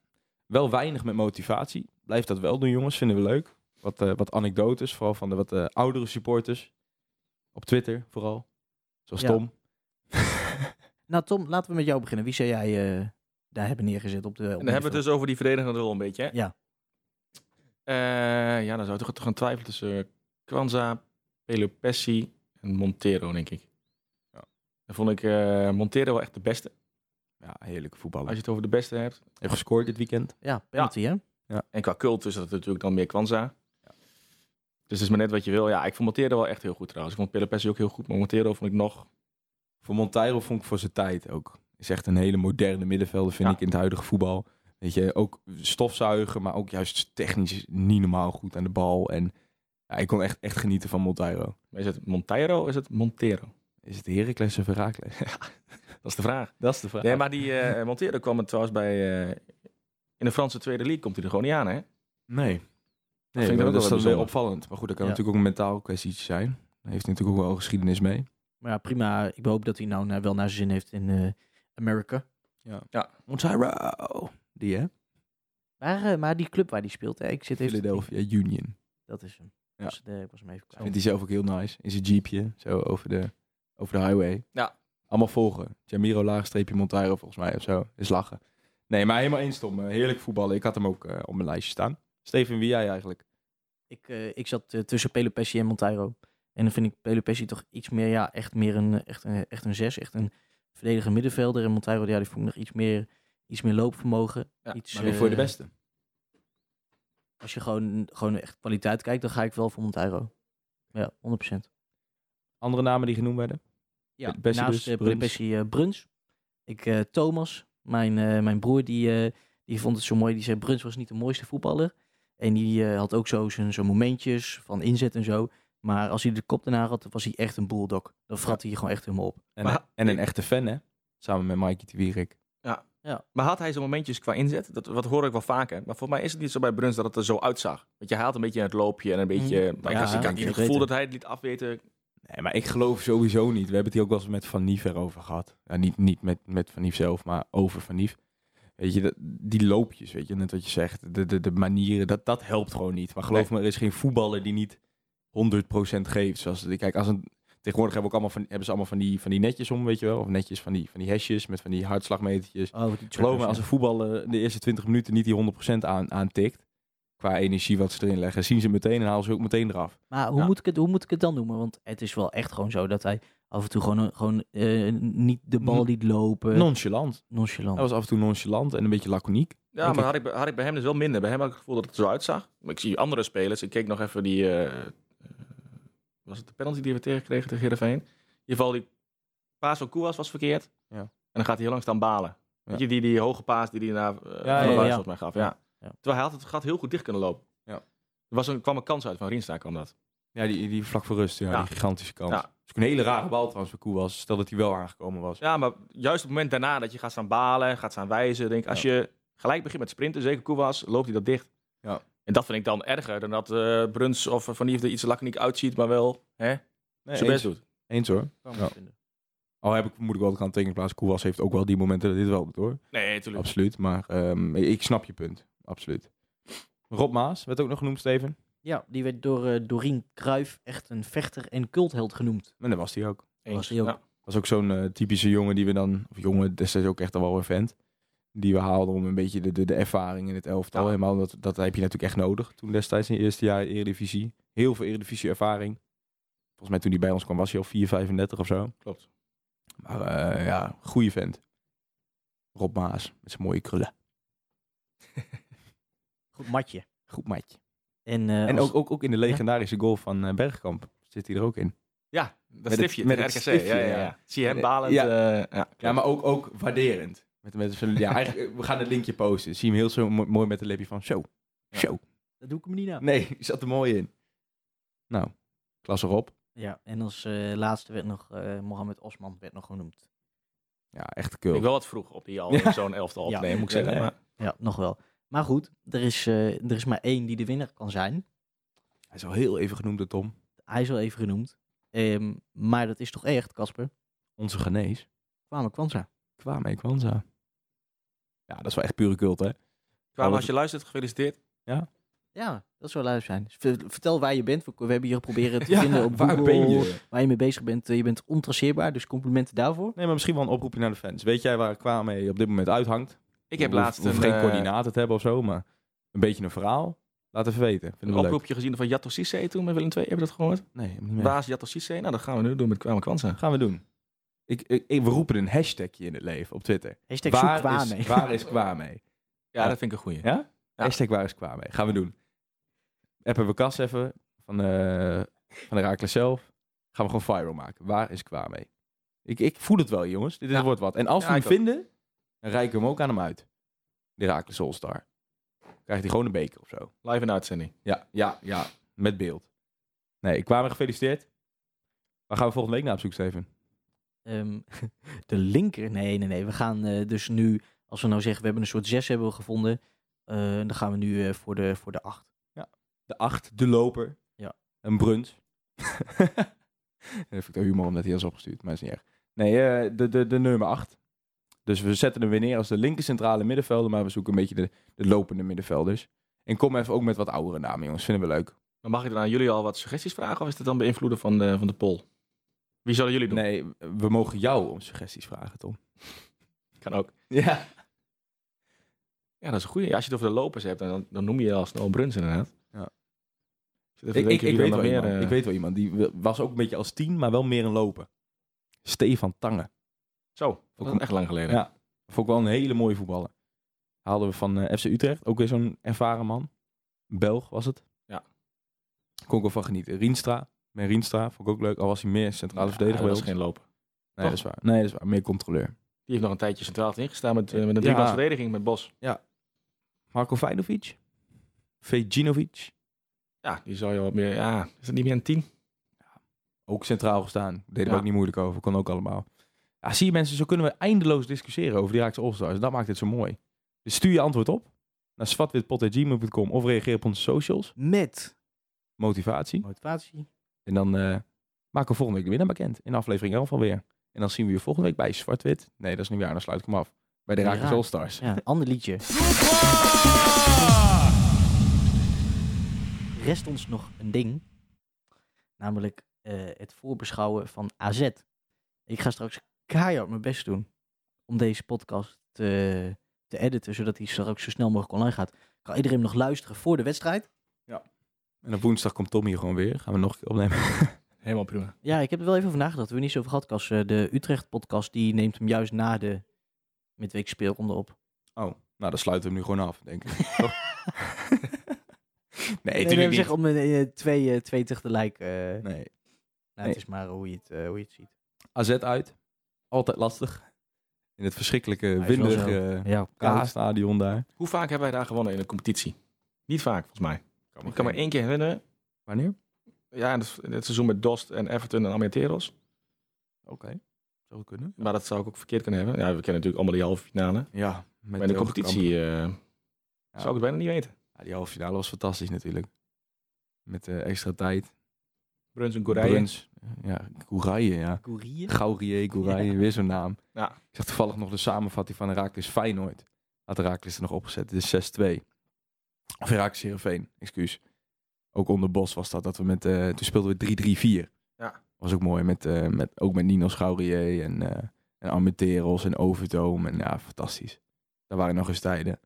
Speaker 1: wel weinig met motivatie. Blijf dat wel doen, jongens. Vinden we leuk. Wat, eh, wat anekdotes, vooral van de wat eh, oudere supporters. Op Twitter vooral. Zoals
Speaker 2: Ja.
Speaker 1: Tom.
Speaker 2: Nou Tom, laten we met jou beginnen. Wie zou jij eh, daar hebben neergezet op de...
Speaker 3: En dan hebben we het dus over die verdedigende rol een beetje, hè?
Speaker 2: Ja.
Speaker 3: Eh, ja, dan zou ik toch gaan twijfelen tussen eh, Kwanza, Pelopessi en Montero, denk ik.
Speaker 1: Ja.
Speaker 3: Dan vond ik eh, Montero wel echt de beste.
Speaker 1: Ja, heerlijke
Speaker 3: Als je
Speaker 1: voetballer.
Speaker 3: het over de beste hebt.
Speaker 1: Heeft gescoord dit weekend.
Speaker 2: Ja, penalty hè?
Speaker 3: En qua cult is dat natuurlijk dan meer Kwanza. Dus het is maar net wat je wil. Ja, ik vond Montero wel echt heel goed trouwens. Ik vond Pelopessi ook heel goed, maar Montero vond ik nog...
Speaker 1: Voor Monteiro vond ik voor zijn tijd ook. Is echt een hele moderne middenvelder, vind
Speaker 3: Ja.
Speaker 1: ik, in het huidige voetbal. Weet je, ook stofzuigen, maar ook juist technisch niet normaal goed aan de bal. En ja, ik kon echt, echt genieten van Monteiro.
Speaker 3: Is het Monteiro of is het Montero?
Speaker 1: Is het Heracles of Heracles?
Speaker 3: Dat is de vraag.
Speaker 1: Dat is de vraag.
Speaker 3: Nee, maar die eh Montero kwam het trouwens bij... eh, in de Franse Tweede League komt hij er gewoon niet aan, hè?
Speaker 1: nee.
Speaker 3: vind ik
Speaker 1: dat, is
Speaker 3: ook wel
Speaker 1: dan weer
Speaker 3: bijzonder.
Speaker 1: opvallend. Maar goed, dat kan
Speaker 2: Ja.
Speaker 1: natuurlijk ook een mentaal kwestietje zijn. Daar heeft hij natuurlijk ook wel geschiedenis mee.
Speaker 2: Maar ja, prima. Ik hoop dat hij nou eh, wel naar zijn zin heeft in eh Amerika.
Speaker 1: Monteiro. Die hè?
Speaker 2: Maar, eh, maar die club waar hij speelt, hè, ik zit even... te
Speaker 1: Philadelphia Union.
Speaker 2: denken. Dat is hem.
Speaker 1: Ja.
Speaker 2: Was het, eh, ik was hem even kwijt.
Speaker 1: Vindt hij zelf ook heel nice. In zijn jeepje, zo over de, over de highway.
Speaker 3: Ja.
Speaker 1: Allemaal volgen. Jamiro laagstreepje Monteiro volgens mij of zo. Is lachen. Nee, maar helemaal eens Tom. Eh, Heerlijk voetballen. Ik had hem ook eh, op mijn lijstje staan. Steven, wie jij eigenlijk?
Speaker 2: Ik, eh, ik zat eh, tussen Pelopessi en Monteiro. En dan vind ik Pelopessi toch iets meer, ja, echt meer een, eh, echt een, echt een zes. Echt een verdediger middenvelder. En Monteiro, ja, die vond ik nog iets meer, iets meer loopvermogen.
Speaker 3: Ja,
Speaker 2: iets,
Speaker 1: maar wie voor je de
Speaker 2: eh,
Speaker 1: beste?
Speaker 2: Als je gewoon, gewoon echt kwaliteit kijkt, dan ga ik wel voor Monteiro. Ja, 100%.
Speaker 1: Andere namen die genoemd werden?
Speaker 2: Ja,
Speaker 1: Bessie
Speaker 2: naast
Speaker 1: dus,
Speaker 2: eh,
Speaker 1: Bruns.
Speaker 2: Bessie, eh, Bruns. Ik, eh, Thomas, mijn, eh, mijn broer, die, eh, die vond het zo mooi. Die zei, Bruns was niet de mooiste voetballer. En die eh, had ook zo zijn zo'n momentjes van inzet en zo. Maar als hij de kop daarna had, was hij echt een bulldog. Dan vrat hij je gewoon echt helemaal op.
Speaker 1: En,
Speaker 3: Maar-
Speaker 1: en een echte fan hè? Samen met Mikey de Wierik.
Speaker 3: Maar had hij zo'n momentjes qua inzet? Dat, wat hoor ik wel vaker. Maar volgens mij is het niet zo bij Bruns dat het er zo uitzag. Want je haalt een beetje het loopje en een beetje... Maar ik
Speaker 2: Ja,
Speaker 3: had- ik
Speaker 2: dat
Speaker 3: had niet
Speaker 2: weet
Speaker 3: het gevoel
Speaker 2: ik.
Speaker 3: dat hij het liet afweten.
Speaker 1: Nee, maar ik geloof sowieso niet. We hebben het hier ook wel eens met Van Nief erover gehad. Ja, niet niet met, met Van Nief zelf, maar over Van Nief. Weet je, dat, die loopjes, weet je, net wat je zegt. De, de, de manieren, dat, dat helpt gewoon niet. Maar geloof me, er is geen voetballer die niet 100% geeft. Zoals, kijk, als een, tegenwoordig hebben, we ook allemaal van, hebben ze allemaal van die, van die netjes om, weet je wel. Of netjes van die, van die hesjes met van die hartslagmetertjes.
Speaker 2: Oh, die
Speaker 1: Geloof me, als een voetballer de eerste 20 minuten niet die 100% aan, aantikt... qua energie wat ze erin leggen, zien ze meteen en halen ze ook meteen eraf.
Speaker 2: Maar hoe,
Speaker 1: Ja.
Speaker 2: moet ik het, hoe moet ik het dan noemen? Want het is wel echt gewoon zo dat hij af en toe gewoon, gewoon eh, niet de bal
Speaker 1: Non- Oh,
Speaker 2: liet lopen.
Speaker 1: Nonchalant.
Speaker 2: nonchalant.
Speaker 1: Hij was af en toe nonchalant en een beetje laconiek.
Speaker 3: Ja, maar had ik, bij- had ik bij hem dus wel minder. Bij hem had ik het gevoel dat het er zo uitzag. Maar ik zie andere spelers. Ik keek nog even die... eh, eh, was het de penalty die we tegenkregen tegen Heerenveen? In ieder geval die paas van Koewas was verkeerd.
Speaker 1: Ja.
Speaker 3: En dan gaat hij heel lang staan balen.
Speaker 1: Ja.
Speaker 3: Weet je, die, die hoge paas die hij naar eh, van
Speaker 1: ja,
Speaker 3: de
Speaker 1: ja.
Speaker 3: Luijs volgens mij gaf. Ja.
Speaker 2: Ja.
Speaker 3: Terwijl hij had het gat heel goed dicht kunnen lopen.
Speaker 1: Ja.
Speaker 3: Er was een, kwam een kans uit van Rienstra kwam dat.
Speaker 1: Ja, die, die vlak voor rust, ja,
Speaker 3: Ja.
Speaker 1: die gigantische kans.
Speaker 3: Ja.
Speaker 1: Dat is ook een hele rare bal trouwens voor Koewas. Stel dat hij wel aangekomen was.
Speaker 3: Ja, maar juist op het moment daarna dat je gaat staan balen, gaat staan wijzen. Denk, ik, als je gelijk begint met sprinten, zeker Koewas, loopt hij dat dicht.
Speaker 1: Ja.
Speaker 3: En dat vind ik dan erger dan dat eh, Bruns of Van Nieuw er iets laconiek uitziet, maar wel hè,
Speaker 1: Nee,
Speaker 3: zijn
Speaker 1: eens,
Speaker 3: best doet.
Speaker 1: eens hoor.
Speaker 2: Oh,
Speaker 1: Ja. Al heb ik, moet ik wel de kanttekening plaatsen. Koewas heeft ook wel die momenten dat dit wel doet hoor.
Speaker 3: Nee, natuurlijk.
Speaker 1: Absoluut. Maar ehm, ik snap je punt. Absoluut. Rob Maas werd ook nog genoemd, Steven.
Speaker 2: Ja, die werd door eh Dorien Kruijf echt een vechter en cultheld genoemd.
Speaker 1: En dat was hij ook.
Speaker 3: Eens.
Speaker 2: Was hij ook.
Speaker 3: Ja.
Speaker 1: was ook zo'n eh, typische jongen die we dan, of jongen, destijds ook echt al wel een vent. Die we haalden om een beetje de, de, de ervaring in het elftal.
Speaker 3: Ja.
Speaker 1: Helemaal, dat, dat heb je natuurlijk echt nodig. Toen destijds in het eerste jaar Eredivisie. Heel veel Eredivisie ervaring. Volgens mij toen hij bij ons kwam was hij al 4, 35 of zo.
Speaker 3: Klopt.
Speaker 1: Maar eh, ja, goede vent. Rob Maas, met zijn mooie krullen.
Speaker 2: Goed matje.
Speaker 1: Goed maatje.
Speaker 2: En, eh,
Speaker 1: En
Speaker 2: als-
Speaker 1: ook, ook, ook in de legendarische goal van eh, Bergkamp zit hij er ook in.
Speaker 3: ja, dat
Speaker 1: het-
Speaker 3: stiftje,
Speaker 1: met
Speaker 3: met RKC.
Speaker 1: het stiftje,
Speaker 3: ja, ja,
Speaker 1: ja.
Speaker 3: ja. Zie je hem
Speaker 1: Ja.
Speaker 3: balend.
Speaker 1: Ja.
Speaker 3: eh, Ja,
Speaker 1: Ja, maar ook, ook waarderend. Met, met, ja, eigenlijk, eh, we gaan het linkje posten. Zie hem heel zo mo- mooi met een lipje van zo.
Speaker 3: Ja.
Speaker 1: Zo.
Speaker 2: Dat doe ik hem niet na.
Speaker 1: Nee, je zat er mooi in. Nou, klas erop.
Speaker 2: Ja, en als eh, laatste werd nog eh Mohamed Osman werd nog genoemd.
Speaker 1: Ja, echt
Speaker 3: Vind
Speaker 1: kul.
Speaker 3: ik wel wat vroeg op die al in zo'n elftal
Speaker 2: Ja.
Speaker 3: opnemen, moet ik zeggen.
Speaker 1: Ja, ja.
Speaker 3: Maar,
Speaker 2: Ja, nog wel. Maar goed, er is, eh, er is maar één die de winnaar kan zijn.
Speaker 1: Hij is al heel even genoemd door Tom.
Speaker 2: Hij is al even genoemd. Ehm, maar dat is toch echt, Casper?
Speaker 1: Onze genees.
Speaker 2: Kwame Kwanza.
Speaker 1: Kwame Kwanza. Ja, dat is wel echt pure cult, hè?
Speaker 3: Kwamen,
Speaker 1: Alles-
Speaker 3: als je luistert, gefeliciteerd.
Speaker 2: Ja, dat zou leuk zijn. Dus ver- vertel waar je bent. We we hebben je proberen te
Speaker 1: Ja,
Speaker 2: vinden op
Speaker 1: waar
Speaker 2: Google,
Speaker 1: ben je?
Speaker 2: Waar je mee bezig bent. Eh, Je bent ontraceerbaar, dus complimenten daarvoor.
Speaker 1: Nee, maar misschien wel een oproepje naar de fans. Weet jij waar Kwame op dit moment uithangt?
Speaker 3: Ik heb
Speaker 1: Hoef-
Speaker 3: laatst
Speaker 1: hoef
Speaker 3: een,
Speaker 1: geen
Speaker 3: eh,
Speaker 1: coördinaten te hebben of zo, maar een beetje een verhaal. Laat even weten.
Speaker 3: een
Speaker 1: Vinden we leuk.
Speaker 3: oproepje gezien van Jatto Cissé toen met Willem II. Heb je dat gehoord?
Speaker 1: Nee, hem niet meer.
Speaker 3: Baas Jatto Cissé. Nou, dat gaan we nu doen met Kwame Kwanza.
Speaker 1: gaan we doen? Ik, ik, ik- we roepen een hashtagje in het leven op Twitter.
Speaker 2: Hashtag zoek
Speaker 1: waar,
Speaker 2: Kwame.
Speaker 1: is, waar is Kwame?
Speaker 3: Ja, dat vind ik een goeie.
Speaker 1: Ja? Hashtag waar is Kwame? Gaan we doen. Appen we Cas even. van, eh van Herakles zelf. Gaan we gewoon viral maken. Waar is Kwa mee? Ik, ik voel het wel, jongens. Dit is- wordt wat. En als
Speaker 3: Ja,
Speaker 1: we hem
Speaker 3: ik ook.
Speaker 1: vinden, dan reiken we hem ook aan hem uit. De Herakles All-Star. Krijgt hij gewoon een beker of zo.
Speaker 3: Live in de uitzending.
Speaker 1: Ja, ja, ja. Met beeld. Nee, ik kwam gefeliciteerd. Waar gaan we volgende week naar op zoek, Steven?
Speaker 2: Ehm, de linker, nee, nee, nee. We gaan eh, dus nu, als we nou zeggen, we hebben een soort zes hebben we gevonden. eh, dan gaan we nu eh, voor, de, voor de acht.
Speaker 1: De acht, de loper.
Speaker 2: Ja.
Speaker 1: Een brunt. Heeft ik de humor omdat hij is opgestuurd, maar is niet erg. Nee, eh, de, de, de nummer acht. Dus we zetten hem weer neer als de linker centrale middenvelder, maar we zoeken een beetje de, de lopende middenvelders. En kom even ook met wat oudere namen, jongens. Vinden we leuk.
Speaker 3: Maar mag ik dan aan jullie al wat suggesties vragen? Of is dat dan beïnvloeden van de, van de poll? Wie zouden jullie doen?
Speaker 1: Nee, we mogen jou om suggesties vragen, Tom.
Speaker 3: Kan ook.
Speaker 1: Ja.
Speaker 3: Ja, dat is een goede. als je het over de lopers hebt, dan, dan noem je al snel Bruns inderdaad.
Speaker 1: Ja.
Speaker 3: Ik, zit even te
Speaker 1: Ik, ik,
Speaker 3: denken
Speaker 1: ik,
Speaker 3: wie er
Speaker 1: weet
Speaker 3: nog
Speaker 1: wel
Speaker 3: meer,
Speaker 1: iemand.
Speaker 3: eh,
Speaker 1: ik weet wel iemand. Die w- was ook een beetje als tien, maar wel meer een lopen. Stefan Tange.
Speaker 3: Zo, dat is echt lang geleden.
Speaker 1: Oh. Ja. Vond ik wel een hele mooie voetballer. Haalden we van eh, FC Utrecht. Ook weer zo'n ervaren man. Belg was het.
Speaker 3: Ja.
Speaker 1: Kon ik wel van genieten. Rienstra. Met Rienstra vond ik ook leuk. Al was hij meer centrale
Speaker 3: Ja,
Speaker 1: verdediger
Speaker 3: dat
Speaker 1: bij
Speaker 3: is
Speaker 1: ons.
Speaker 3: geen loper.
Speaker 1: Nee, dat is waar. Nee, dat is waar. Meer controleur.
Speaker 3: Die heeft nog een tijdje centraal ingestaan met, eh, met een
Speaker 1: Ja.
Speaker 3: driekwarts verdediging met Bos.
Speaker 1: Marco Vajnovic. Vejinovic.
Speaker 3: Ja, die zou je wat meer... Ja, is dat niet meer een team?
Speaker 1: Ook centraal gestaan. Deden we
Speaker 3: Ja.
Speaker 1: ook niet moeilijk over. Kon ook allemaal. Ja, zie je mensen, zo kunnen we eindeloos discussiëren over die Raakse All-Stars. En dat maakt het zo mooi. Dus stuur je antwoord op naar swatwitpot.gmail.com of reageer op onze socials.
Speaker 2: Met
Speaker 1: Motivatie.
Speaker 2: motivatie.
Speaker 1: En dan eh, maken we volgende week de winnaar bekend. In aflevering 11 alweer. En dan zien we je volgende week bij Zwart-Wit. Nee, dat is niet waar. Dan sluit ik hem af. Bij de
Speaker 2: Ja.
Speaker 1: Raakles All-Stars.
Speaker 2: Ja, een ander liedje. Rest ons nog een ding. Namelijk eh, het voorbeschouwen van AZ. Ik ga straks keihard mijn best doen om deze podcast te, te editen, zodat hij straks zo snel mogelijk online gaat. Kan iedereen nog luisteren voor de wedstrijd?
Speaker 1: En op woensdag komt Tom hier gewoon weer. Gaan we nog een keer opnemen.
Speaker 3: Helemaal prima.
Speaker 2: Ja, ik heb er wel even over nagedacht. We hebben er niet zo over gehad, Cas. Eh, De Utrecht-podcast die neemt hem juist na de midweek speelronde op.
Speaker 1: Oh, nou dan sluiten we hem nu gewoon af, denk ik. Toch? nee,
Speaker 2: Nee,
Speaker 1: natuurlijk
Speaker 2: we hebben
Speaker 1: niet.
Speaker 2: zeggen om een, eh, twee, eh, twee tegelijk. eh, nou,
Speaker 1: Nee.
Speaker 2: Het is maar hoe je het, eh, hoe je het ziet.
Speaker 1: AZ uit. Altijd lastig. In het verschrikkelijke
Speaker 2: Hij is wel zo.
Speaker 1: windige
Speaker 2: Ja,
Speaker 1: K-stadion daar.
Speaker 3: Hoe vaak hebben wij daar gewonnen in de competitie? Niet vaak, volgens mij.
Speaker 1: me
Speaker 3: ik kan me
Speaker 1: geen-
Speaker 3: één keer herinneren.
Speaker 1: Wanneer?
Speaker 3: Ja, dat- het seizoen met Dost en Everton en Ameteros.
Speaker 1: Oké. Zou kunnen.
Speaker 3: Maar dat zou ik ook verkeerd kunnen hebben. Ja, we kennen natuurlijk allemaal die halve finale.
Speaker 1: Ja. Met
Speaker 3: Maar in de
Speaker 1: Elgekamp.
Speaker 3: competitie eh, zou ik het bijna niet weten.
Speaker 1: Ja, die halve finale was fantastisch natuurlijk. Met eh, extra tijd.
Speaker 3: Bruns en Gourayen.
Speaker 1: Bruns. Ja, Gouraille, ja.
Speaker 2: Koerier?
Speaker 1: Gaurier, Gouraille, weer zo'n naam.
Speaker 3: Ja.
Speaker 1: Ik zag toevallig nog de samenvatting van Herakles Feyenoord. Had Herakles er nog opgezet. Het is 6-2. Of Herakles Heerenveen, excuus. Ook onder Bos was dat, dat we met... eh, toen speelden we 3-3-4.
Speaker 3: Ja.
Speaker 1: Was ook mooi, met, eh, met, ook met Ninos Gaurier en, eh en Armenteros en Overtoom. En ja, fantastisch. Daar waren nog eens tijden.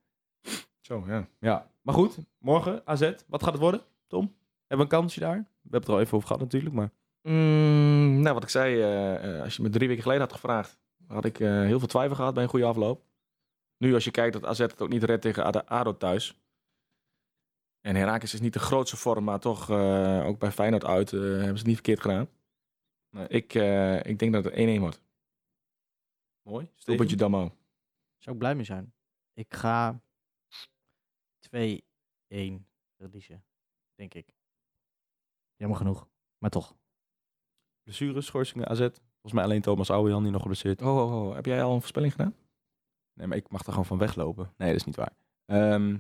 Speaker 3: Zo, ja.
Speaker 1: Ja, maar goed. Morgen AZ. Wat gaat het worden, Tom? Hebben we een kansje daar? We hebben het er al even over gehad natuurlijk, maar...
Speaker 3: Mm, nou, wat ik zei, eh, eh, als je me drie weken geleden had gevraagd, had ik eh, heel veel twijfel gehad bij een goede afloop. Nu, als je kijkt dat AZ het ook niet redt tegen ADO- ADO thuis. En Herakles is niet de grootste vorm, maar toch eh, ook bij Feyenoord uit eh, hebben ze het niet verkeerd gedaan. Ik, eh, ik denk dat het 1-1 wordt.
Speaker 1: Mooi.
Speaker 3: Doelpuntje Damo.
Speaker 2: Zou ik blij mee zijn. Ik ga 2-1 verliezen, denk ik. Jammer genoeg, maar toch.
Speaker 1: blessures, schorsingen, AZ. Volgens mij alleen Thomas Ouwejan die nog geblesseerd.
Speaker 3: Oh, oh, oh, heb jij al een voorspelling gedaan?
Speaker 1: Nee, maar ik mag er gewoon van weglopen. Nee, dat is niet waar. Ehm,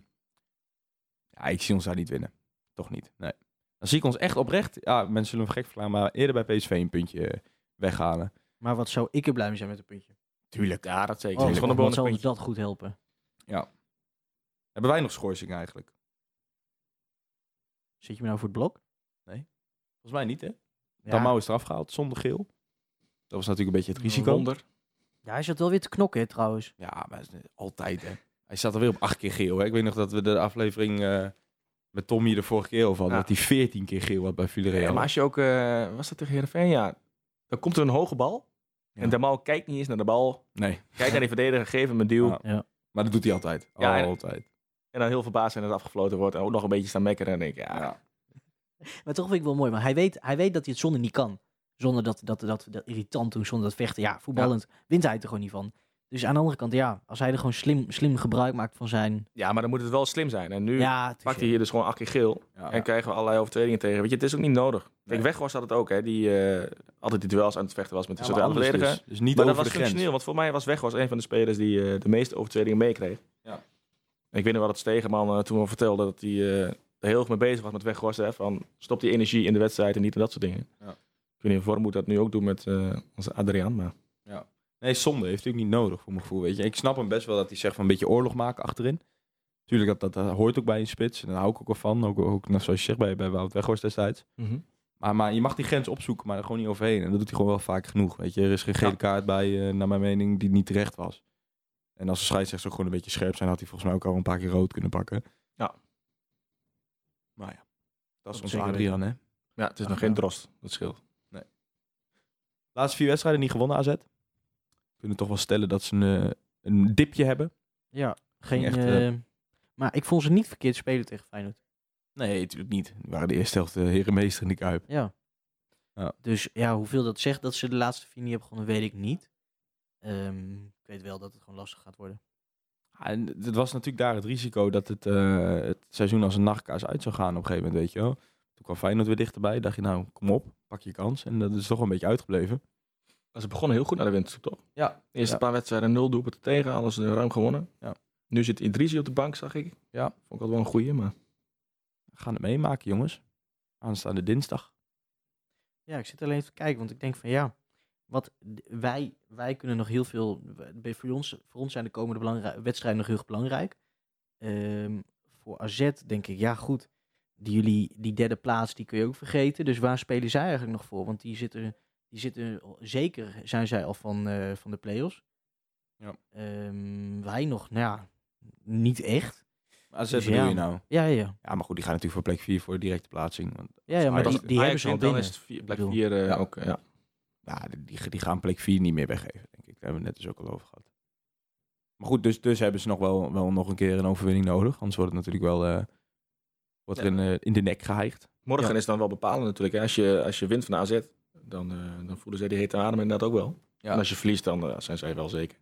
Speaker 1: ja, ik zie ons daar niet winnen. Toch niet, nee. Dan zie ik ons echt oprecht, ja, mensen zullen hem gek verklaren, maar eerder bij PSV een puntje eh, weghalen.
Speaker 2: Maar wat zou ik er blij mee zijn met een puntje?
Speaker 1: Tuurlijk.
Speaker 3: Ja, dat zeker.
Speaker 1: Oh,
Speaker 3: Het is gewoon een
Speaker 2: wat
Speaker 3: bonus
Speaker 2: zou ons
Speaker 3: puntje.
Speaker 2: dat goed helpen?
Speaker 1: Hebben wij nog schorsingen eigenlijk?
Speaker 2: Zit je me nou voor het blok?
Speaker 1: Volgens mij niet, hè?
Speaker 2: Ja,
Speaker 1: Damau is eraf gehaald, zonder geel. Dat was natuurlijk een beetje het risico.
Speaker 3: Wonder.
Speaker 2: ja hij zat wel weer te knokken hè, trouwens.
Speaker 1: Ja, maar dat is altijd, hè. Hij staat alweer op acht keer geel, hè. Ik weet nog dat we de aflevering eh, met Tommy de vorige keer over hadden.
Speaker 3: Ja.
Speaker 1: Dat hij veertien keer geel had bij Villarreal.
Speaker 3: Ja, maar als je ook, eh, was dat tegen Heerenveen? Ja, dan komt er een hoge bal.
Speaker 1: Ja.
Speaker 3: En Damal kijkt niet eens naar de bal.
Speaker 1: Nee,
Speaker 3: Kijkt naar die verdediger, geef hem een duw.
Speaker 1: Ja. maar dat doet hij altijd.
Speaker 3: Ja, en-
Speaker 1: altijd.
Speaker 3: En dan heel verbaasd zijn dat het afgefloten wordt. En ook nog een beetje staan mekkeren. En dan denk ik, ja,
Speaker 1: Ja.
Speaker 2: Maar toch vind ik wel mooi. Maar hij weet, hij weet dat hij het zonder niet kan. Zonder dat, dat, dat, dat irritant doen, zonder dat vechten. Ja, voetballend wint hij het er gewoon niet van. Dus aan de andere kant, ja, als hij er gewoon slim, slim gebruik maakt van zijn...
Speaker 3: Ja, maar dan moet het wel slim zijn. En nu
Speaker 2: ja, het is-
Speaker 3: pakt hij hier dus gewoon acht keer geel.
Speaker 1: Ja,
Speaker 3: En krijgen we allerlei overtredingen tegen. Weet je, het is ook niet nodig. Kijk, weg was dat het ook, hè. Die eh, altijd die duels aan het vechten was met de
Speaker 1: maar
Speaker 3: centrale
Speaker 1: anders
Speaker 3: verdediger.
Speaker 1: dus. Dus niet
Speaker 3: Maar dat
Speaker 1: over
Speaker 3: was
Speaker 1: de grens.
Speaker 3: functioneel, want voor mij was Weghorst een van de spelers die eh, de meeste overtredingen meekreeg.
Speaker 1: Ja.
Speaker 3: Ik weet nog wel dat Stegeman eh, toen al vertelde dat hij eh, er heel erg mee bezig was met Weghorst. Hè, van stop die energie in de wedstrijd en niet en dat soort dingen.
Speaker 1: Ja.
Speaker 3: Ik weet niet of Worm moet dat nu ook doen met eh, onze Adriaan, maar...
Speaker 1: Nee, zonde heeft hij ook niet nodig voor mijn gevoel. Weet je. Ik snap hem best wel dat hij zegt van een beetje oorlog maken achterin. Tuurlijk, dat, dat, dat hoort ook bij een spits. En daar hou ik ook wel van. Ook, ook nou, zoals je zegt bij, bij Wout Weghorst destijds. Maar, maar je mag die grens opzoeken, maar er gewoon niet overheen. En dat doet hij gewoon wel vaak genoeg. Weet je. Er is geen gele kaart bij, eh, naar mijn mening, die niet terecht was. En als de scheidsrechter ook gewoon een beetje scherp zijn, had hij volgens mij ook al een paar keer rood kunnen pakken.
Speaker 3: Ja.
Speaker 1: Maar ja, dat is
Speaker 2: Dat
Speaker 1: onze
Speaker 2: zeker
Speaker 1: Adrian, hè.
Speaker 3: Ja, het is
Speaker 1: Ach,
Speaker 3: nog geen
Speaker 1: ja.
Speaker 3: drost, dat scheelt.
Speaker 1: Laatste vier wedstrijden niet gewonnen, AZ. Kunnen toch wel stellen dat ze een, eh, een dipje hebben.
Speaker 2: Ja, geen...
Speaker 1: Echt, eh,
Speaker 2: eh, maar ik vond ze niet verkeerd spelen tegen Feyenoord.
Speaker 1: Nee, natuurlijk niet. We waren de eerste helft de herenmeester in de Kuip.
Speaker 2: Ja.
Speaker 1: Ja.
Speaker 2: Dus ja, hoeveel dat zegt dat ze de laatste vier niet hebben gewonnen, weet ik niet. Ehm, ik weet wel dat het gewoon lastig gaat worden.
Speaker 1: En het was natuurlijk daar het risico dat het, eh, het seizoen als een nachtkaas uit zou gaan op een gegeven moment, weet je wel. Toen kwam Feyenoord weer dichterbij. dacht je, nou, kom op, pak je kans. En dat is toch wel een beetje uitgebleven.
Speaker 3: Maar ze begonnen heel goed naar de winterstop, toch?
Speaker 1: Ja.
Speaker 3: Eerste
Speaker 1: Ja.
Speaker 3: paar wedstrijden nul doelpunten tegen, alles eh, ruim gewonnen.
Speaker 1: Ja.
Speaker 3: Nu zit Idrisi op de bank, zag ik.
Speaker 1: Ja.
Speaker 3: Vond ik altijd wel een goeie, maar...
Speaker 1: We gaan het meemaken, jongens. Aanstaande dinsdag.
Speaker 2: Ja, ik zit alleen even te kijken, want ik denk van ja, wat d- wij, wij kunnen nog heel veel. w- bij- Voor ons, voor ons zijn de komende belangrij- wedstrijden nog heel erg belangrijk. Ehm, voor AZ denk ik, ja goed, die, jullie, die derde plaats die kun je ook vergeten. Dus waar spelen zij eigenlijk nog voor? Want die zitten, die zitten zeker zijn zij al van, eh, van de play-offs.
Speaker 1: Ja.
Speaker 2: Ehm, wij nog, nou ja, niet echt.
Speaker 1: AZ,
Speaker 2: Dus
Speaker 1: bedoel
Speaker 2: ja.
Speaker 1: je nou?
Speaker 2: Ja, ja, ja.
Speaker 1: Ja, maar goed, die gaan natuurlijk voor plek 4 voor de directe plaatsing. Want
Speaker 2: ja, ja maar
Speaker 1: Ajax-
Speaker 2: die, die hebben
Speaker 3: Ajax
Speaker 2: ze al
Speaker 3: wint, dan
Speaker 2: binnen.
Speaker 3: is het vier-
Speaker 2: Ik
Speaker 3: plek
Speaker 2: bedoel.
Speaker 3: 4
Speaker 1: Ja.
Speaker 3: ook, ja.
Speaker 1: nou, die- die, die gaan plek 4 niet meer weggeven, denk ik. Daar hebben we het net dus ook al over gehad. Maar goed, dus, dus hebben ze nog wel, wel nog een keer een overwinning nodig. Anders wordt het natuurlijk wel... eh, wordt er
Speaker 3: Ja.
Speaker 1: in, eh, in de nek geheigd.
Speaker 3: Morgen is dan wel bepalend natuurlijk. hè. Als je, als je wint van AZ, dan, eh, dan voelen zij die hete adem inderdaad ook wel.
Speaker 1: Ja.
Speaker 3: En als je verliest, dan eh, zijn zij wel zeker.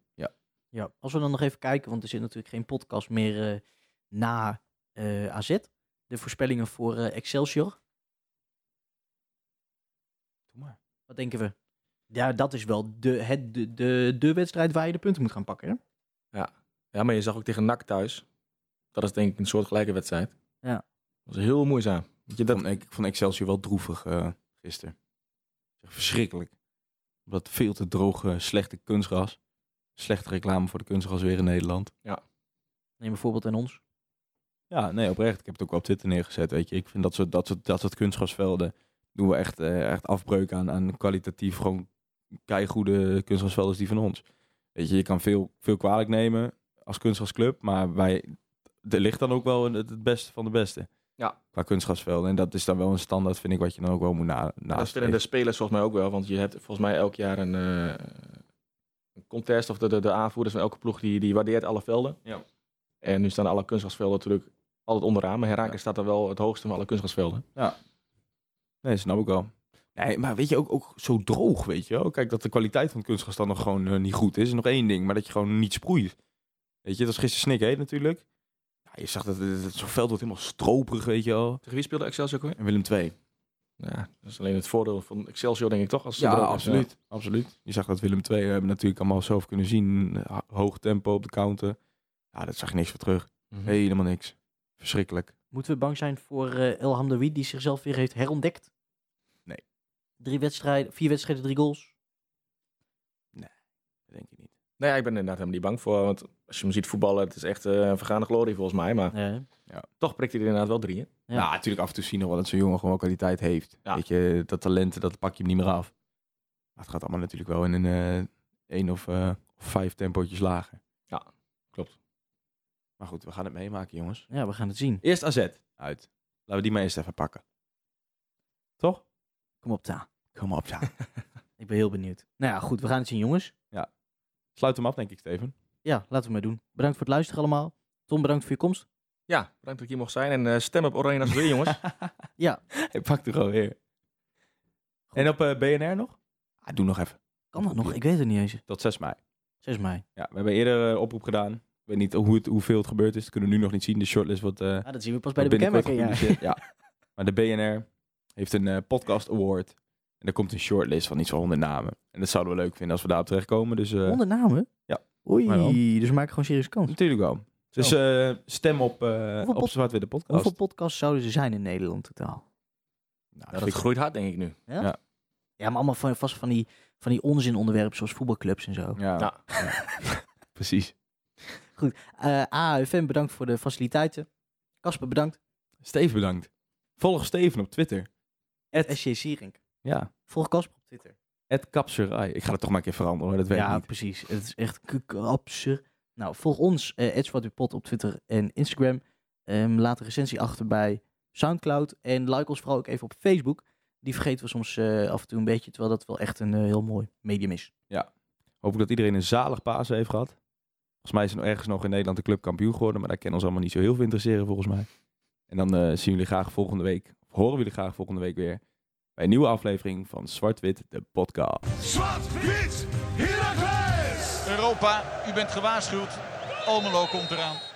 Speaker 2: Ja, als we dan nog even kijken, want er zit natuurlijk geen podcast meer eh, na eh, AZ. De voorspellingen voor eh, Excelsior,
Speaker 1: Doe maar.
Speaker 2: wat denken we? Ja, dat is wel de, het, de, de, de wedstrijd waar je de punten moet gaan pakken. Hè?
Speaker 3: Ja, maar je zag ook tegen NAC thuis. Dat is denk ik een soortgelijke wedstrijd.
Speaker 2: Ja.
Speaker 3: Dat was heel moeizaam. Weet je,
Speaker 1: Dat...
Speaker 3: dat,
Speaker 1: Vond, E- ik ik vond Excelsior wel droevig eh gisteren. Echt Verschrikkelijk. Omdat veel te droge, slechte kunstgras. Slechte reclame voor de kunstgras weer in Nederland.
Speaker 2: Neem een voorbeeld aan ons.
Speaker 1: Ja, nee, oprecht. Ik heb het ook wel op Twitter neergezet, weet je. Ik vind dat soort, dat soort, dat soort kunstgrasvelden... doen we echt, eh, echt afbreuk aan, aan kwalitatief gewoon keigoede kunstgrasvelden als die van ons. Weet je, je kan veel, veel kwalijk nemen als kunstgrasclub... maar wij, er ligt dan ook wel het, het beste van de beste.
Speaker 3: Ja.
Speaker 1: Qua kunstgrasvelden. En dat is dan wel een standaard, vind ik, wat je dan ook wel moet na,
Speaker 3: dat vinden
Speaker 1: nastreven.
Speaker 3: de spelers volgens mij ook wel. Want je hebt volgens mij elk jaar een, eh, een contest. Of de, de, de aanvoerders van elke ploeg, die, die waardeert alle velden.
Speaker 1: Ja.
Speaker 3: En nu staan alle kunstgrasvelden natuurlijk altijd onderaan. Maar Herakles staat dan wel het hoogste van alle kunstgrasvelden.
Speaker 1: Nee, snap ik wel. Nee, maar weet je, ook, ook zo droog, weet je wel. Kijk, dat de kwaliteit van het kunstgras dan nog gewoon eh, niet goed is, is nog één ding. Maar dat je gewoon niet sproeit. Weet je, dat is gisteren snik heet natuurlijk. Ja, je zag dat, dat, dat zo'n veld wordt helemaal stroperig, weet je wel.
Speaker 3: Tegen wie speelde Excelsior ook weer?
Speaker 1: En Willem II.
Speaker 3: Ja, dat is alleen het voordeel van Excelsior, denk ik toch? Als ze
Speaker 1: Ja,
Speaker 3: er ook-
Speaker 1: absoluut. absoluut. Je zag dat Willem II, we hebben natuurlijk allemaal zelf kunnen zien. eh, Hoog tempo op de counter. Ja, dat zag je niks voor terug.
Speaker 3: Mhm.
Speaker 1: Helemaal niks. Verschrikkelijk.
Speaker 2: Moeten we bang zijn voor eh El Hamdawi, die zichzelf weer heeft herontdekt?
Speaker 1: Nee.
Speaker 2: Drie wedstrijden, vier wedstrijden, drie goals.
Speaker 1: Dat denk ik niet.
Speaker 3: Nee, ik ben er inderdaad helemaal niet bang voor. Want als je hem ziet voetballen, het is echt eh, een vergane glorie volgens mij. Maar
Speaker 2: Eh,
Speaker 3: toch prikt hij er inderdaad wel drie in.
Speaker 2: Ja.
Speaker 1: Nou, natuurlijk af en toe zien we wel dat zo'n jongen gewoon kwaliteit heeft.
Speaker 3: Ja.
Speaker 1: Weet je, dat talent, dat pak je hem niet meer af. Maar het gaat allemaal natuurlijk wel in een eh, één of, eh, of vijf tempootjes lager.
Speaker 3: Ja, klopt.
Speaker 1: Maar goed, we gaan het meemaken, jongens.
Speaker 2: ja, we gaan het zien.
Speaker 1: Eerst AZ uit. Laten we die maar eerst even pakken. Toch?
Speaker 2: Kom op, ta.
Speaker 1: Kom op, ja.
Speaker 2: Ik ben heel benieuwd. Nou ja, goed, we gaan het zien, jongens.
Speaker 1: Sluit hem af, denk ik, Steven.
Speaker 2: Ja, laten we maar doen. Bedankt voor het luisteren allemaal. Tom, bedankt voor je komst.
Speaker 3: Ja, bedankt dat ik hier mocht zijn. En eh, stem op Oranje als weer, jongens.
Speaker 1: Hij pakt er gewoon weer.
Speaker 2: Goed.
Speaker 1: En op eh, BNR nog? Ah, doe nog even.
Speaker 2: Kan dat nog? Ik weet het niet eens.
Speaker 1: Tot 6 mei.
Speaker 2: 6 mei.
Speaker 1: Ja, we hebben eerder eh, oproep gedaan. Ik weet niet hoe het, hoeveel het gebeurd is. Dat kunnen we nu nog niet zien. De shortlist wordt eh,
Speaker 2: Ah, dat zien we pas bij de
Speaker 1: binnenkort
Speaker 2: bekendmaking. Ja.
Speaker 1: gepubliceerd. Ja. Maar de BNR heeft een eh, podcast award. En er komt een shortlist van iets van 100 namen. En dat zouden we leuk vinden als we daarop terechtkomen. Dus eh,
Speaker 2: 100 namen?
Speaker 1: Ja.
Speaker 2: Oei,
Speaker 1: Maar wel.
Speaker 2: dus we maken gewoon serieus kans.
Speaker 1: natuurlijk wel. Dus eh, stem op, eh op
Speaker 2: Hoeveel pod-
Speaker 1: Zwart-Witte Podcast.
Speaker 2: Hoeveel podcasts zouden er zijn in Nederland totaal?
Speaker 1: Nou,
Speaker 3: Ja,
Speaker 1: vind
Speaker 3: dat
Speaker 1: ik-
Speaker 3: groeit hard, denk ik nu.
Speaker 2: Ja, maar allemaal van, vast van die, van die onzinonderwerpen zoals voetbalclubs en zo.
Speaker 1: ja.
Speaker 3: Ja.
Speaker 1: Ja. Precies.
Speaker 2: Eh AFM, bedankt voor de faciliteiten. Casper, bedankt.
Speaker 1: Steven bedankt. Volg Steven op Twitter.
Speaker 2: Het SJ Sierink.
Speaker 1: Ja.
Speaker 2: Volg Casper op Twitter.
Speaker 1: Het Kapsurai. Ik ga dat toch maar een keer veranderen hoor. Dat weet ik
Speaker 2: ja,
Speaker 1: niet.
Speaker 2: precies. Het is echt absurd. Nou, volg ons, uh, Pot op Twitter en Instagram. Ehm, laat een recensie achter bij Soundcloud. En like ons vooral ook even op Facebook. Die vergeten we soms eh, af en toe een beetje, terwijl dat wel echt een eh, heel mooi medium is.
Speaker 1: Hoop ik dat iedereen een zalig Pasen heeft gehad. Volgens mij is er nog ergens nog in Nederland de club kampioen geworden. Maar daar kennen ons allemaal niet zo heel veel interesseren volgens mij. En dan eh, zien jullie graag volgende week. Of horen we jullie graag volgende week weer. Bij een nieuwe aflevering van Zwart-Wit, de podcast.
Speaker 4: Zwart-wit, Heracles!
Speaker 6: Europa, u bent gewaarschuwd. Almelo komt eraan.